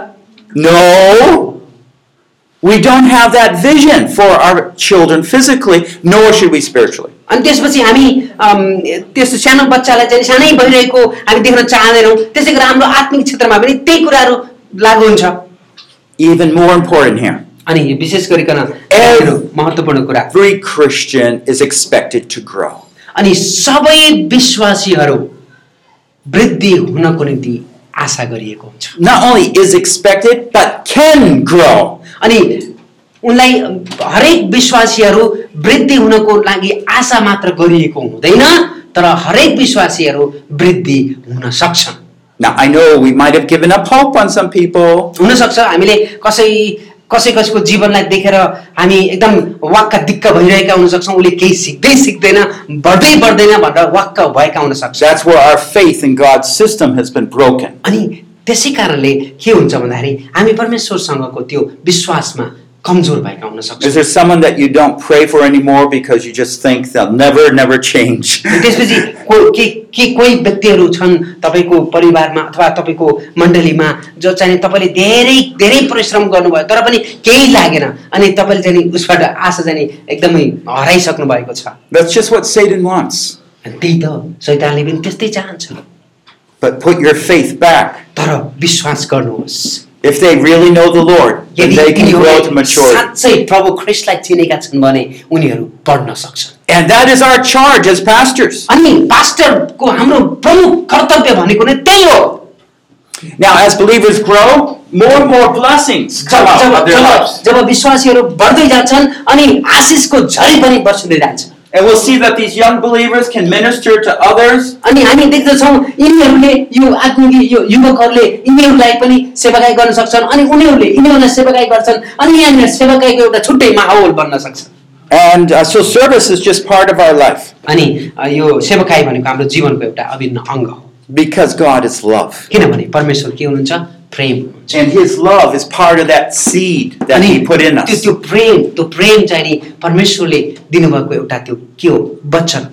Speaker 1: No. We don't have that vision for our children physically, nor should we spiritually.
Speaker 2: अनि त्यसपछि हामी अम, त्यस्तो सानो बच्चालाई चाहिँ सानै भइरहेको हामी देख्न चाहँदैनौँ त्यसै गरी हाम्रो आत्मिक क्षेत्रमा पनि त्यही कुराहरू लागु हुन्छ
Speaker 1: Even more important here.
Speaker 2: अनि यो विशेष गरिकन
Speaker 1: Every-
Speaker 2: महत्त्वपूर्ण कुरा
Speaker 1: Every Christian is expected to grow.
Speaker 2: अनि सबै विश्वासीहरू वृद्धि हुनको निम्ति आशा गरिएको हुन्छ
Speaker 1: Not only is expected, but can grow.
Speaker 2: अनि उनलाई हरेक विश्वासीहरू वृद्धि हुनको लागि आशा मात्र गरिएको हुँदैन तर हरेक विश्वासीहरू वृद्धि हुन सक्छन्
Speaker 1: Now, I know we might have given up hope on some people,
Speaker 2: हुनसक्छ हामीले कसै कसै कसैको जीवनलाई देखेर हामी एकदम वाक्क दिक्क भइरहेका हुनसक्छौँ उसले केही सिक्दै सिक्दैन बढ्दै बढ्दैन भनेर वाक्क भएका हुनसक्छ
Speaker 1: that's where our faith in God's system has been broken.
Speaker 2: अनि त्यसै कारणले के हुन्छ भन्दाखेरि हामी परमेश्वरसँगको त्यो विश्वासमा कमजोर भएका हुन
Speaker 1: Is
Speaker 2: सक्छौँ
Speaker 1: there someone that you don't pray for anymore because you just think they'll never, never change?
Speaker 2: त्यसपछि को के के कोही व्यक्तिहरू छन् तपाईँको परिवारमा अथवा तपाईँको मण्डलीमा जो चाहिँ तपाईँले धेरै धेरै परिश्रम गर्नुभयो तर पनि केही लागेन अनि तपाईँले चाहिँ नि उसबाट आशा चाहिँ नि एकदमै हराइसक्नु भएको छ
Speaker 1: That's just what Satan wants.
Speaker 2: अनि त्यही त सैतानले पनि त्यस्तै चाहन्छ
Speaker 1: But put your faith back.
Speaker 2: तर विश्वास गर्नुहोस्
Speaker 1: If they really know the Lord, then
Speaker 2: यदि
Speaker 1: they can grow to
Speaker 2: तिनीहरूले
Speaker 1: maturity.
Speaker 2: साँच्चै प्रभु ख्रिस्टलाई चिनेका छन् भने उनीहरू बढ्न सक्छन्
Speaker 1: And that is our charge as pastors.
Speaker 2: अनि पास्टरको हाम्रो प्रमुख कर्तव्य भनेको नै त्यही हो
Speaker 1: Now, as believers grow, more and more blessings come
Speaker 2: जब
Speaker 1: out
Speaker 2: जब
Speaker 1: of their
Speaker 2: जब
Speaker 1: lives.
Speaker 2: जब विश्वासीहरू बढ्दै जान्छन् अनि आशिषको झरी पनि बर्सिँदै जान्छ
Speaker 1: And we'll see that these young believers can minister to others.
Speaker 2: अनि हामी देख्दछौँ यिनीहरूले यो आत्मिक यो युवकहरूले यिनीहरूलाई पनि सेवाकाई गर्न सक्छन् अनि उनीहरूले यिनीहरूलाई सेवाकाई गर्छन् अनि यहाँनिर सेवाकाईको एउटा छुट्टै माहौल बन्न सक्छ
Speaker 1: And uh, so service is just part of our life
Speaker 2: अनि अ, यो सेवाकाई भनेको हाम्रो जीवनको एउटा अभिन्न अङ्ग हो
Speaker 1: because God is love.
Speaker 2: किनभने परमेश्वर के हुनुहुन्छ प्रेम हुनुहुन्छ
Speaker 1: And His love is part of that seed that
Speaker 2: अनि
Speaker 1: He put in
Speaker 2: त्यो
Speaker 1: us.
Speaker 2: त्यो प्रेम त्यो प्रेम चाहिँ नि परमेश्वरले दिनुभएको एउटा त्यो के हो वचन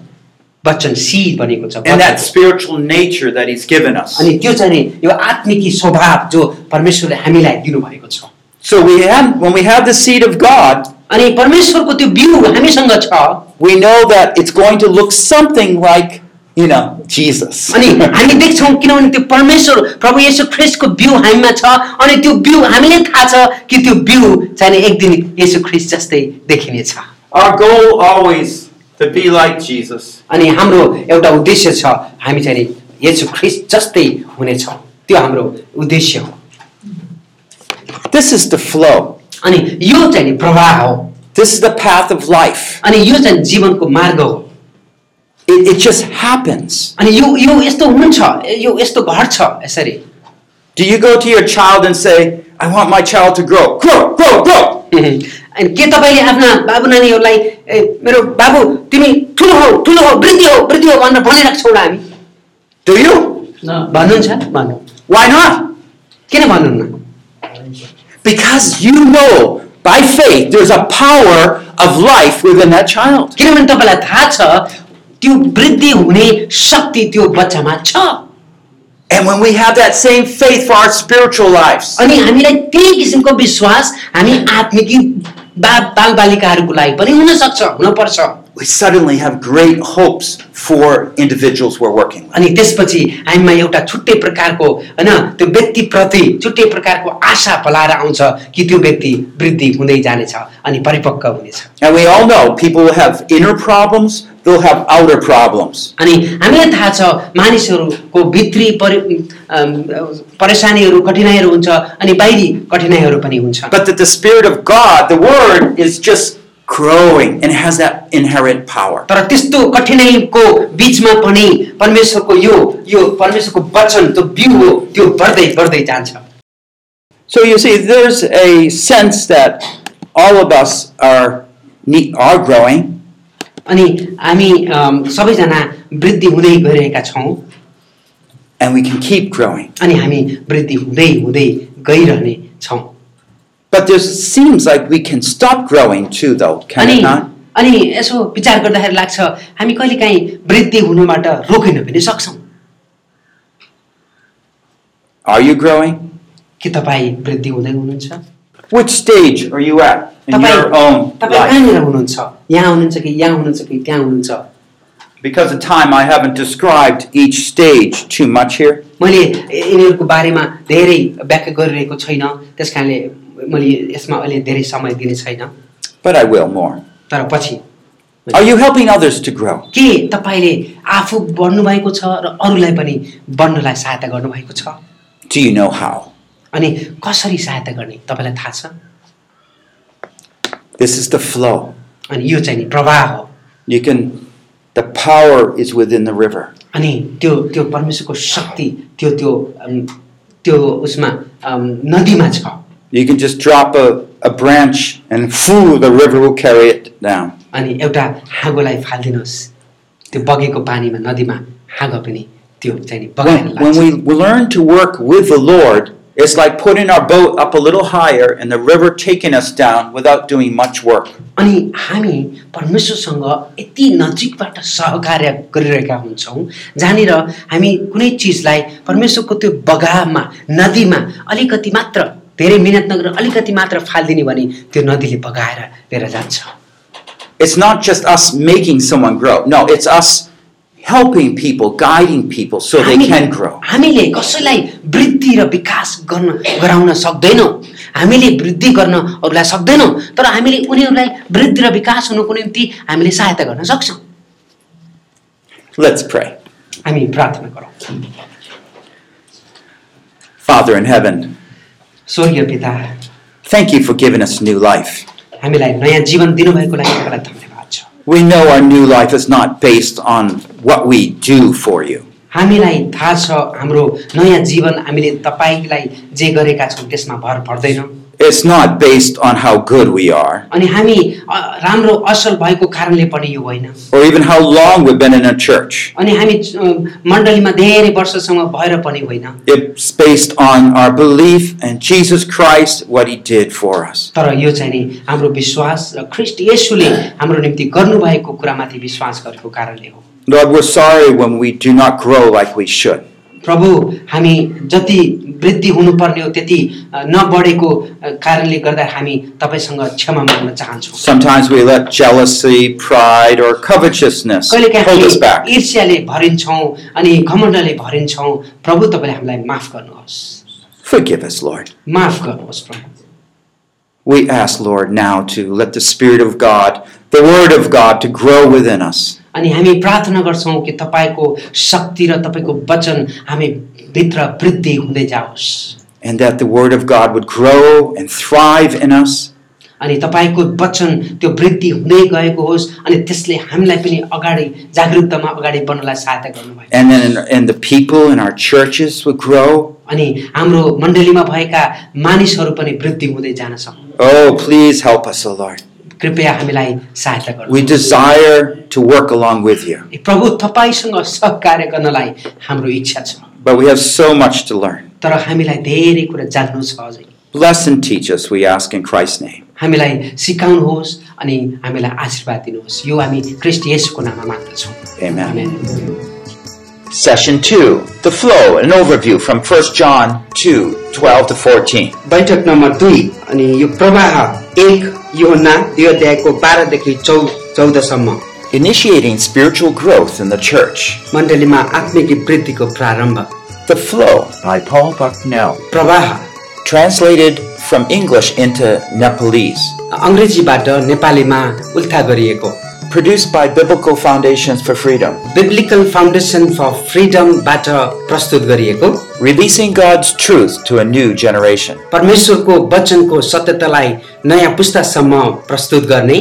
Speaker 2: वचन सिड भनेको छ
Speaker 1: And that
Speaker 2: वचन।
Speaker 1: spiritual nature that He's given us.
Speaker 2: अनि त्यो चाहिँ नि यो आत्मिकी स्वभाव जो परमेश्वरले हामीलाई दिनुभएको छ
Speaker 1: So we have, when we have the seed of God,
Speaker 2: अनि परमेश्वरको त्यो बिउ हामीसँग छ
Speaker 1: we know that it's going to look something like, you know, Jesus.
Speaker 2: अनि हामी देख्छौँ किनभने त्यो परमेश्वर प्रभु येशू ख्रिस्टको बिउ हामीमा छ अनि त्यो बिउ हामीले थाहा छ कि त्यो बिउ चाहिँ नि एक दिन येशू ख्रिस्ट जस्तै देखिनेछ
Speaker 1: Our goal always to be like Jesus.
Speaker 2: अनि हाम्रो एउटा उद्देश्य छ हामी चाहिँ नि येशू ख्रिस्ट जस्तै हुनेछौँ त्यो हाम्रो उद्देश्य हो
Speaker 1: This is the flow.
Speaker 2: अनि यो चाहिँ नि प्रवाह हो
Speaker 1: This is the path of life.
Speaker 2: अनि यो चाहिँ जीवनको मार्ग हो
Speaker 1: It, it just happens.
Speaker 2: अनि यो यो यस्तो हुन्छ यो यस्तो घट्छ यसरी
Speaker 1: Do you go to your child and say, I want my child to grow, grow, grow, grow?
Speaker 2: अनि के तपाईँले आफ्ना बाबु नानीहरूलाई ए मेरो बाबु तिमी ठुलो हौ ठुलो हौ वृद्धि हौ वृद्धि हौ भनेर भनिराख्छौँ हामी
Speaker 1: Do you?
Speaker 2: भन्नुहुन्छ भन्नु
Speaker 1: Why not?
Speaker 2: किन भन्नुहुन्न
Speaker 1: Because you know by faith there's a power of life within that child.
Speaker 2: किनभने तपाईँलाई थाहा छ त्यो वृद्धि हुने शक्ति त्यो बच्चामा छ
Speaker 1: And when we have that same faith for our spiritual lives,
Speaker 2: अनि हामीलाई त्यही किसिमको विश्वास हामी आत्मिक बा बालबालिकाहरूको लागि पनि हुनसक्छ हुनपर्छ
Speaker 1: we suddenly have great hopes for individuals we're working with.
Speaker 2: अनि त्यसपछि हामीमा एउटा छुट्टै प्रकारको होइन त्यो व्यक्तिप्रति छुट्टै प्रकारको आशा पलाएर आउँछ कि त्यो व्यक्ति वृद्धि हुँदै जानेछ अनि परिपक्व हुनेछ
Speaker 1: And we all know people will have inner problems, they'll have outer problems.
Speaker 2: अनि हामीलाई थाहा छ मानिसहरूको भित्री परि अम, परेसानीहरू कठिनाइहरू हुन्छ अनि बाहिरी कठिनाइहरू पनि हुन्छ
Speaker 1: But that the Spirit of God, the Word, is just growing and has that inherent power.
Speaker 2: तर त्यस्तो कठिनाइको बिचमा पनि परमेश्वरको यो यो परमेश्वरको वचन त्यो बिउ हो त्यो बढ्दै बढ्दै जान्छ
Speaker 1: So you see, there's a sense that all of us are ne- are growing,
Speaker 2: अनि हामी अम, सबैजना वृद्धि हुँदै गइरहेका छौँ
Speaker 1: and we can keep growing.
Speaker 2: अनि हामी वृद्धि हुँदै हुँदै गइरहने छौँ
Speaker 1: But there seems like we can stop growing too, though, can
Speaker 2: अनि
Speaker 1: it not?
Speaker 2: अनि यसो विचार गर्दाखेरि लाग्छ हामी कहिले काहीँ वृद्धि हुनुबाट रोकिन पनि सक्छौँ
Speaker 1: Are you growing?
Speaker 2: के तपाईँ वृद्धि हुँदै हुनुहुन्छ
Speaker 1: Which stage are you at in
Speaker 2: तपाईँ
Speaker 1: your own
Speaker 2: तपाईँ
Speaker 1: life?
Speaker 2: कहाँनिर हुनुहुन्छ यहाँ हुनुहुन्छ कि यहाँ हुनुहुन्छ कि त्यहाँ हुनुहुन्छ
Speaker 1: Because of time, I haven't described each stage too much here.
Speaker 2: मैले यिनीहरूको बारेमा धेरै व्याख्या गरिरहेको छैन त्यस कारणले मैले यसमा अहिले धेरै समय दिने छैन
Speaker 1: but I will more.
Speaker 2: तर पछि
Speaker 1: Are you helping others to grow?
Speaker 2: के तपाईँले आफू बढ्नुभएको छ र अरूलाई पनि बढ्नलाई सहायता गर्नुभएको छ
Speaker 1: Do you know how?
Speaker 2: अनि कसरी सहायता गर्ने तपाईँलाई थाहा छ
Speaker 1: This is the flow.
Speaker 2: अनि यो चाहिँ नि प्रवाह हो
Speaker 1: You can, the power is within the river.
Speaker 2: अनि त्यो त्यो परमेश्वरको शक्ति त्यो त्यो अम, त्यो उसमा अम, नदीमा छ
Speaker 1: You can just drop a, a branch and foo, the river will carry it down.
Speaker 2: अनि एउटा हाँगोलाई फालिदिनुहोस् त्यो बगेको पानीमा नदीमा हाँगो पनि त्यो चाहिँ नि बगाएर
Speaker 1: When, when
Speaker 2: लाग्छ
Speaker 1: we learn to work with the Lord, it's like putting our boat up a little higher and the river taking us down without doing much work.
Speaker 2: अनि हामी परमेश्वरसँग यति नजिकबाट सहकार्य गरिरहेका हुन्छौँ जहाँनिर हामी कुनै चिजलाई परमेश्वरको त्यो बगामा नदीमा अलिकति मात्र धेरै मिहिनेत नगरेर अलिकति मात्र फालिदिने भने त्यो नदीले बगाएर लिएर जान्छ
Speaker 1: It's not just us making someone grow. No, it's us helping people, guiding people so they
Speaker 2: हामी-
Speaker 1: can grow.
Speaker 2: हामीले कसैलाई वृद्धि र विकास गर्न गराउन सक्दैनौँ हामीले वृद्धि गर्न अरूलाई सक्दैनौँ तर हामीले उनीहरूलाई वृद्धि र विकास हुनुको निम्ति हामीले सहायता गर्न सक्छौँ
Speaker 1: Let's pray.
Speaker 2: हामी प्रार्थना गरौँ
Speaker 1: Father in heaven,
Speaker 2: स्वर्गीय पिता
Speaker 1: Thank you for giving us new life.
Speaker 2: हामीलाई नयाँ जीवन दिनुभएको लागि तपाईँलाई धन्यवाद छ
Speaker 1: We know our new life is not based on what we do for you.
Speaker 2: हामीलाई थाहा छ हाम्रो नयाँ जीवन हामीले तपाईँलाई जे गरेका छौँ त्यसमा भर पर्दैन
Speaker 1: It's not based on how good we are
Speaker 2: अनि हामी अ, राम्रो असल भएको कारणले पनि यो होइन
Speaker 1: or even how long we've been in a church.
Speaker 2: अनि हामी अ, मण्डलीमा धेरै वर्षसम्म भएर पनि होइन
Speaker 1: It's based on our belief in Jesus Christ, what he did for us.
Speaker 2: तर यो चाहिँ नि हाम्रो विश्वास र ख्रिस्ट येसुले हाम्रो निम्ति गर्नुभएको कुरामाथि विश्वास गरेको कारणले हो
Speaker 1: Lord, we're sorry when we do not grow like we should.
Speaker 2: प्रभु हामी जति वृद्धि हुनुपर्ने हो त्यति अ, नबढेको अ, कारणले गर्दा हामी तपाईँसँग क्षमा माग्न चाहन्छौँ
Speaker 1: Sometimes we let jealousy, pride, or covetousness
Speaker 2: कहिले
Speaker 1: hold us back.
Speaker 2: हामी ईर्ष्याले भरिन्छौँ अनि घमण्डले भरिन्छौँ प्रभु तपाईँले हामीलाई माफ गर्नुहोस्
Speaker 1: Forgive us, Lord.
Speaker 2: माफ गर्नुहोस् प्रभु
Speaker 1: We ask, Lord, now to let the Spirit of God the Word of God to grow within us.
Speaker 2: अनि हामी प्रार्थना गर्छौँ कि तपाईँको शक्ति र तपाईँको वचन हामी भित्र वृद्धि हुँदै जाओस्
Speaker 1: And that the Word of God would grow and thrive in us.
Speaker 2: अनि तपाईँको वचन त्यो वृद्धि हुँदै गएको होस् अनि त्यसले हामीलाई पनि अगाडि जागरुकतामा अगाडि बढ्नलाई सहायता गर्नुभयो
Speaker 1: And then, and the people in our churches would grow.
Speaker 2: अनि हाम्रो मण्डलीमा भएका मानिसहरू पनि वृद्धि हुँदै जान सक्नु
Speaker 1: Oh, please help us, O Lord.
Speaker 2: कृपया हामीलाई सहायता
Speaker 1: We
Speaker 2: गर्नु
Speaker 1: desire to work along with you,
Speaker 2: प्रभु तपाईँसँग सहकार्य गर्नलाई हाम्रो इच्छा छ
Speaker 1: but we have so much to learn.
Speaker 2: तर हामीलाई धेरै कुरा जान्नु छ अझै
Speaker 1: Bless and teach us, we ask in Christ's name.
Speaker 2: हामीलाई सिकाउनुहोस् अनि हामीलाई आशीर्वाद दिनुहोस् यो हामी क्रिस्ट येसुको नाममा माग्दछौँ
Speaker 1: Amen.
Speaker 2: Amen.
Speaker 1: Session 2 The Flow, an overview from 1 John 2 12 to 14.
Speaker 5: बैठक नम्बर दुई अनि यो प्रवाह एक योना दुई अध्यायको बाह्रदेखि चौ चौधसम्म
Speaker 1: Initiating spiritual growth in the church.
Speaker 5: मण्डलीमा आत्मिक वृद्धिको प्रारम्भ
Speaker 1: The Flow by Paul Bucknell.
Speaker 5: प्रवाह
Speaker 1: Translated from English into Nepalese.
Speaker 5: अङ्ग्रेजीबाट नेपालीमा उल्था गरिएको
Speaker 1: Produced by Biblical Foundations for Freedom.
Speaker 5: Biblical foundation for फ्रिडमबाट प्रस्तुत गरिएको
Speaker 1: Releasing God's truth to a new generation.
Speaker 5: परमेश्वरको वचनको सत्यतालाई नयाँ पुस्तासम्म प्रस्तुत गर्ने